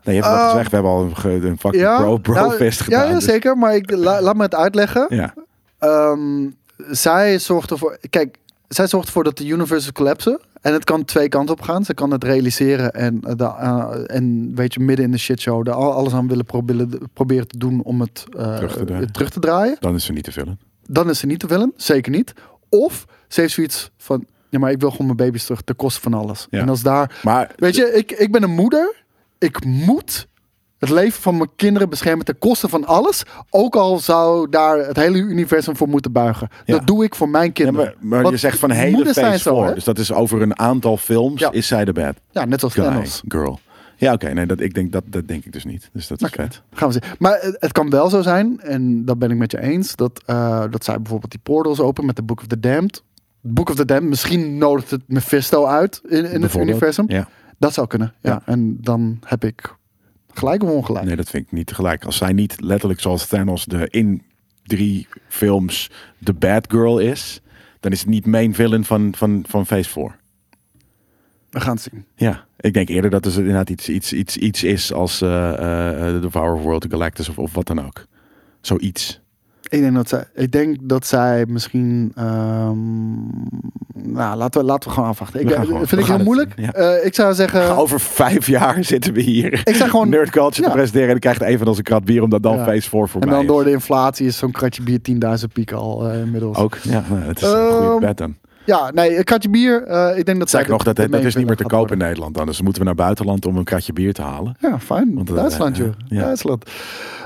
Nee, je hebt het al Eh, gezegd. We hebben al een, ge- een fucking bro, bro nou, fest ja, gedaan. Ja, dus- zeker. Maar ik, la- laat me het uitleggen. Ja, Ehm, zij zorgt ervoor. Kijk, zij zorgt ervoor dat de universe collapsen. En het kan twee kanten op gaan. Ze kan het realiseren en, eh, da- eh, en weet je, midden in de shitshow er al- alles aan willen proberen, proberen te doen om het eh, Terug te draaien. terug te draaien. dan is ze niet te vullen. Dan is ze niet te willen, zeker niet. Of ze heeft zoiets van, ja maar ik wil gewoon mijn baby's terug, ten koste van alles. Ja. En als daar, Maar weet je, ik, ik ben een moeder. Ik moet het leven van mijn kinderen beschermen ten koste van alles. Ook al zou daar het hele universum voor moeten buigen. Ja. Dat doe ik voor mijn Ja, kinderen. maar, maar Want je zegt van hele moeders zijn Phase zo, 4. hè? Dus dat is over een aantal films Ja. is zij de bad Ja, net als guy, Thanos. girl. Ja, oké. nee, dat, ik denk, dat, dat denk ik dus niet. Dus dat is Oké, vet. Gaan we zien. Maar het het kan wel zo zijn, en dat ben ik met je eens, dat, eh, dat zij bijvoorbeeld die portals open met de Book of the Damned. Book of the Damned, misschien nodigt het Mephisto uit in, in het Bijvoorbeeld. universum. Ja. Dat zou kunnen, ja. Ja. En dan heb ik gelijk of ongelijk. Nee, dat vind ik niet tegelijk. Als zij niet letterlijk zoals Thanos de in drie films de bad girl is, dan is het niet main villain van, van, van Phase 4. We gaan het zien. Ja, ik denk eerder dat het inderdaad iets, iets, iets, iets is als eh eh The Power of World, Galactus of, of wat dan ook. Zoiets. Ik denk dat zij, ik denk dat zij misschien. ehm, nou, laten we, laten we gewoon afwachten. Ik, We gaan gewoon- we vind ik gaan heel het moeilijk. zien, ja. Eh, ik zou zeggen. Over vijf jaar zitten we hier. Ik zeg gewoon- Nerd Culture Ja. te presenteren. En dan krijgt een van onze krat bier. Omdat dan Ja. Phase 4 voorbij en dan is. door de inflatie is zo'n kratje bier 10.000 piek al eh, inmiddels. Ook, ja. nou, Het is een Ehm, goede bet dan. Ja, nee, een kratje bier. eh, ik denk dat zij. Zeg nog, dat, de dat main is niet meer te winner gaat koop in Nederland dan. Dus moeten we naar buitenland om een kratje bier te halen. worden. Ja, fijn. Want dat- Duitsland, eh, joh. ja. Duitsland.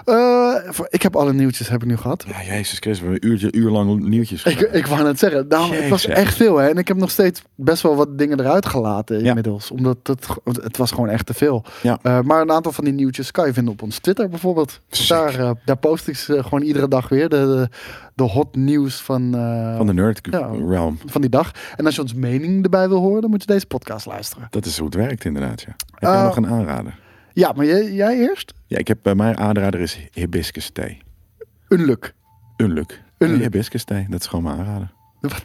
Eh, voor- ik heb alle nieuwtjes heb ik nu gehad. Ja, Nou, jezus Christus, we hebben een uurtje, uur lang nieuwtjes Ik, gedaan. ik wou net zeggen, nou, het was Jezus. echt veel. Hè? En ik heb nog steeds best wel wat dingen eruit gelaten Ja. inmiddels. Omdat het, het was gewoon echt te veel. Ja. Eh, maar een aantal van die nieuwtjes kan je vinden op ons Twitter bijvoorbeeld. Sick. Daar, eh, daar post ik ze gewoon iedere dag weer. De, de, de hot nieuws van, eh, Van de nerd Ja. realm. van die dag. En als je ons mening erbij wil horen, dan moet je deze podcast luisteren. Dat is hoe het werkt inderdaad, ja. Heb jij Eh, nog een aanrader? Ja, maar jij, jij eerst? Ja, ik heb bij mijn aanrader is hibiscus thee. Een luk. Unluk. Unluk. Hibiscus thee, dat is gewoon mijn aanrader. Wat?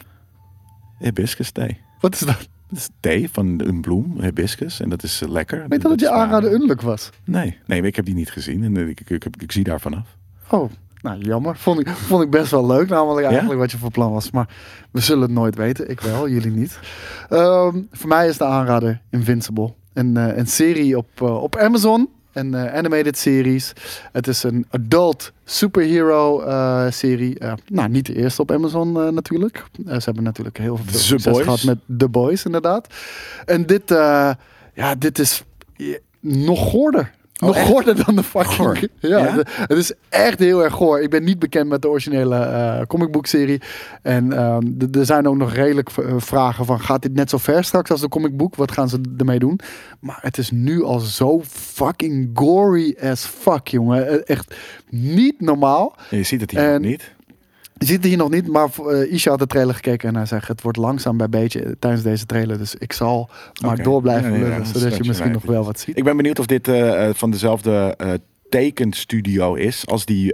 Hibiscus thee. Wat is dat? Dat is thee van een bloem, hibiscus. En dat is eh, lekker. Weet je dat is je waar. aanraden een luk was? Nee, nee, maar ik heb die niet gezien. En eh, ik, ik, ik, heb- ik zie daar vanaf. Oh, nou jammer. Vond ik, vond ik best wel leuk, namelijk eigenlijk wat je voor plan was. Maar we zullen het nooit weten. Ik wel, jullie niet. Ehm, voor mij is de aanrader Invincible. Een, eh, een serie op, eh, op Amazon. Een eh, animated series. Het is een adult superhero eh, serie. Eh, nou, niet de eerste op Amazon eh, natuurlijk. Eh, ze hebben natuurlijk heel veel The succes Boys. gehad met The Boys, inderdaad. En dit, eh, ja, dit is eh, nog goorder. Oh, nog echt? gorder dan de fucking... Goor? Ja, Ja? de- het is echt heel erg goor. Ik ben niet bekend met de originele eh comicboekserie. En ehm, d- er zijn ook nog redelijk v- eh, vragen van... gaat dit net zo ver straks als de comicboek? Wat gaan ze ermee doen? Maar het is nu al zo fucking gory as fuck, jongen. Eh, Echt niet normaal. En Eh, je ziet het hier En- ook niet. Je ziet het hier nog niet, maar eh, Isha had de trailer gekeken... en hij zegt, het wordt langzaam bij beetje eh, tijdens deze trailer. Dus ik zal maar Oké. door blijven Ja, ja, ja, lullen... dat zodat snap je je misschien mij nog wel wat ziet. Ik ben benieuwd of dit eh, eh, van dezelfde eh, tekenstudio is als die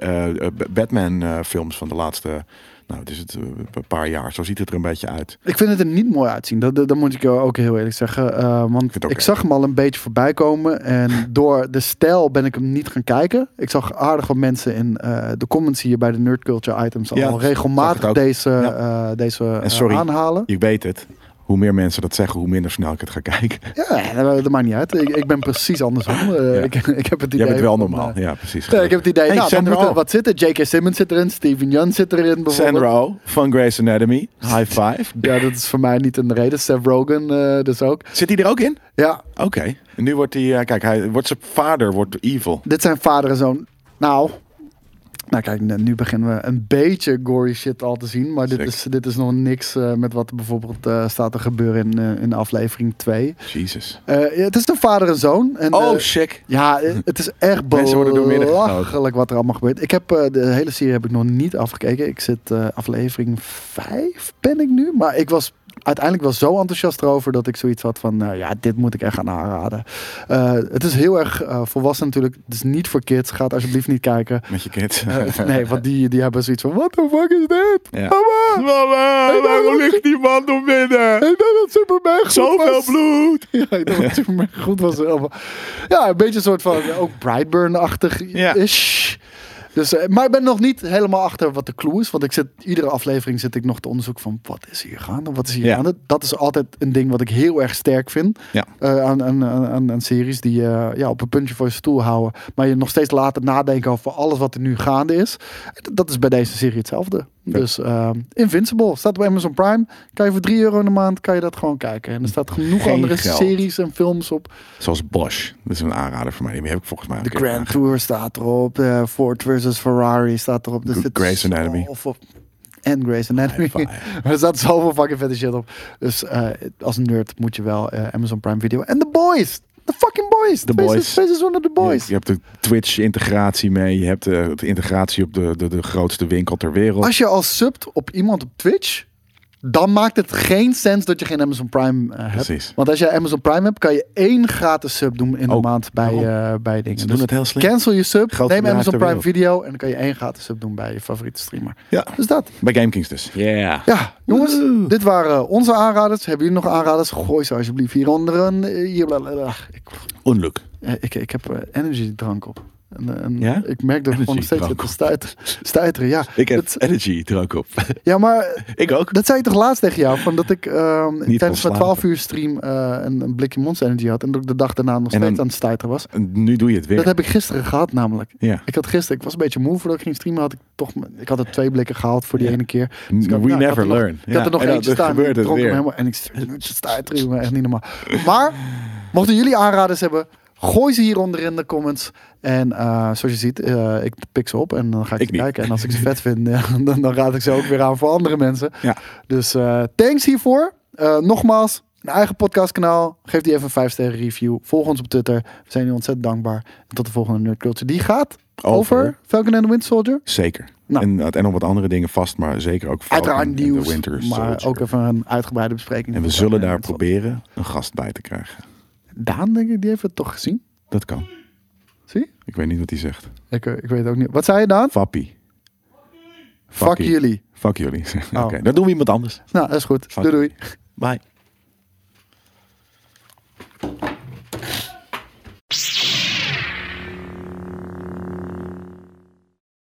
Batman-films van de laatste, nou, het is het, eh, een paar jaar. Zo ziet het er een beetje uit. Ik vind het er niet mooi uitzien. Dat, dat, dat moet ik jou ook heel eerlijk zeggen. Eh, want het ik, ook erg. zag hem al een beetje voorbij komen. En door de stijl ben ik hem niet gaan kijken. Ik zag aardig wat mensen in eh, de comments hier bij de Nerd Culture Items... Ja, al zag ik regelmatig ook. deze, Ja. eh, deze eh, sorry. aanhalen. Ik weet het. Hoe meer mensen dat zeggen, hoe minder snel ik het ga kijken. Ja, dat, dat maakt niet uit. Ik, ik ben precies andersom. Eh, Ja. ik, ik heb het idee... Jij bent wel van, normaal. eh, ja, precies. ja, ik heb het idee, Hey, nou, dan Sandra moet er Oh. wat zitten. J.K. Simmons zit erin, Steven Young zit erin bijvoorbeeld. Sandra Oh van Grey's Anatomy. High five. Ja, dat is voor mij niet een reden. Seth Rogen eh, dus ook. Zit hij er ook in? Ja, Oké. En nu wordt hij, eh, kijk, hij wordt zijn vader wordt evil. Dit zijn vader en zoon. Nou. Nou kijk, nu- nu beginnen we een beetje gory shit al te zien. Maar dit Sick. is, dit is nog niks eh, met wat er bijvoorbeeld eh, staat te gebeuren in, eh, in aflevering 2. Jesus. het is een vader en zoon. En, Oh, eh, sick. ja, eh, het is echt Mensen worden door midden gehouden. belachelijk wat er allemaal gebeurt. Ik heb eh, de hele serie heb ik nog niet afgekeken. Ik zit eh, aflevering 5 ben ik nu. Maar ik was uiteindelijk wel zo enthousiast erover dat ik zoiets had van... nou ja, dit moet ik echt gaan aanraden. Eh, het is heel erg eh, volwassen natuurlijk. Het is niet voor kids. Ga het alsjeblieft niet kijken. Met je kind. Eh, nee, want die, die hebben zoiets van... What the fuck is dit? Ja. Mama! Mama, waarom ligt die man door midden? Ik dacht dat Superman goed was. bloed. Ja, ik dacht dat Superman goed was. Allemaal. Ja, een beetje een soort van eh, ook Brightburn-achtig Ja. is. Dus, eh, maar ik ben nog niet helemaal achter wat de clue is. Want ik zit, iedere aflevering zit ik nog te onderzoeken van wat is hier gaande? Wat is hier Ja. gaande? Dat is altijd een ding wat ik heel erg sterk vind. Ja. eh, aan, aan, aan, aan- aan series die eh, ja, op een puntje voor je stoel houden. Maar je nog steeds laten nadenken over alles wat er nu gaande is. D- Dat is bij deze serie hetzelfde. Dus eh, Invincible staat op Amazon Prime. Kan je voor 3 euro in de maand kan je dat gewoon kijken. En er staat genoeg Geen andere geld. series en films op. Zoals Bosch. Dat is een aanrader voor mij. Die heb ik volgens mij. De Grand Tour staat erop. eh, Ford versus Ferrari staat erop. Gr- zit Grey's Anatomy. zoveel op. En Grey's Anatomy. Maar er staat zoveel fucking vette shit op. Dus eh, als nerd moet je wel eh, Amazon Prime Video. En The Boys! The fucking Boys! The Twee se- Boys. Twee seizoenen The Boys. Je, je hebt de Twitch-integratie mee. Je hebt eh, de, de integratie op de, de, de grootste winkel ter wereld. Als je al subt op iemand op Twitch, dan maakt het geen sens dat je geen Amazon Prime eh, hebt. Precies. Want als jij Amazon Prime hebt, kan je één gratis sub doen in de Oh, maand bij, waarom? eh, bij dingen. Ze doen het heel slim. Cancel je sub, Grootste neem bedrijf Amazon ter Prime wereld. Video en dan kan je één gratis sub doen bij je favoriete streamer. Ja. Dus dat. Bij GameKings dus. Yeah. Ja, jongens, Woehoe. dit waren onze aanraders. Hebben jullie nog aanraders? Gooi ze alsjeblieft hieronder. En eh, hier, blablabla. ik, Onluk. eh, ik, ik heb eh, energy drank op. En, eh, en Ja? Ik merk dat ik gewoon nog steeds zit Energiedrank te op. stuiter- stuiteren. Ja, Ik heb Het- energy drank op. ja, maar eh, ik ook. dat zei ik toch laatst tegen jou, van dat ik ehm, kon tijdens mijn slapen. 12 uur stream eh, een, een blikje Monster Energy had en dat ik de dag daarna nog En steeds dan- aan het stuiteren was. Nu doe je het weer. Dat heb ik gisteren gehad namelijk. Ja. Ik had gisteren, ik was een beetje moe voordat ik ging streamen, had ik toch, m- ik had er twee blikken gehaald voor die Ja. ene keer. ik We dacht, nou, ik had never er nog- learn. Ik had er nog en dan- eentje dan staan en ik gebeurt het dronk hem weer. helemaal en ik stuiteren, jongen, echt niet normaal. Maar, mochten jullie aanraders hebben, gooi ze hieronder in de comments. En eh, zoals je ziet, eh, ik pik ze op en dan ga ik, Ik ze niet. kijken. En als ik ze vet vind, ja, dan, dan raad ik ze ook weer aan voor andere mensen. Ja. Dus eh, thanks hiervoor. Eh, nogmaals, een eigen podcastkanaal. Geef die even een 5 sterren review. Volg ons op Twitter. We zijn jullie ontzettend dankbaar. En tot de volgende Nerd Culture. Die gaat over, Over. Falcon and the Winter Soldier. Zeker. Nou. En, en nog wat andere dingen vast, maar zeker ook Falcon Uiteraard en nieuws, The Winter maar Soldier. ook even een uitgebreide bespreking. Eh, En we van zullen Falcon daar and the Winter proberen een gast bij te krijgen. Soldier. Daan, denk ik, die heeft het toch gezien? Dat kan. Zie? Ik weet niet wat hij zegt. Ik, eh, ik weet ook niet. Wat zei je, Daan? Fappie. Fuck Fakkie. jullie. Fuck jullie. Oké, Oh. dat doen we iemand anders. Nou, dat is goed. Fuck Doei doei. Bye.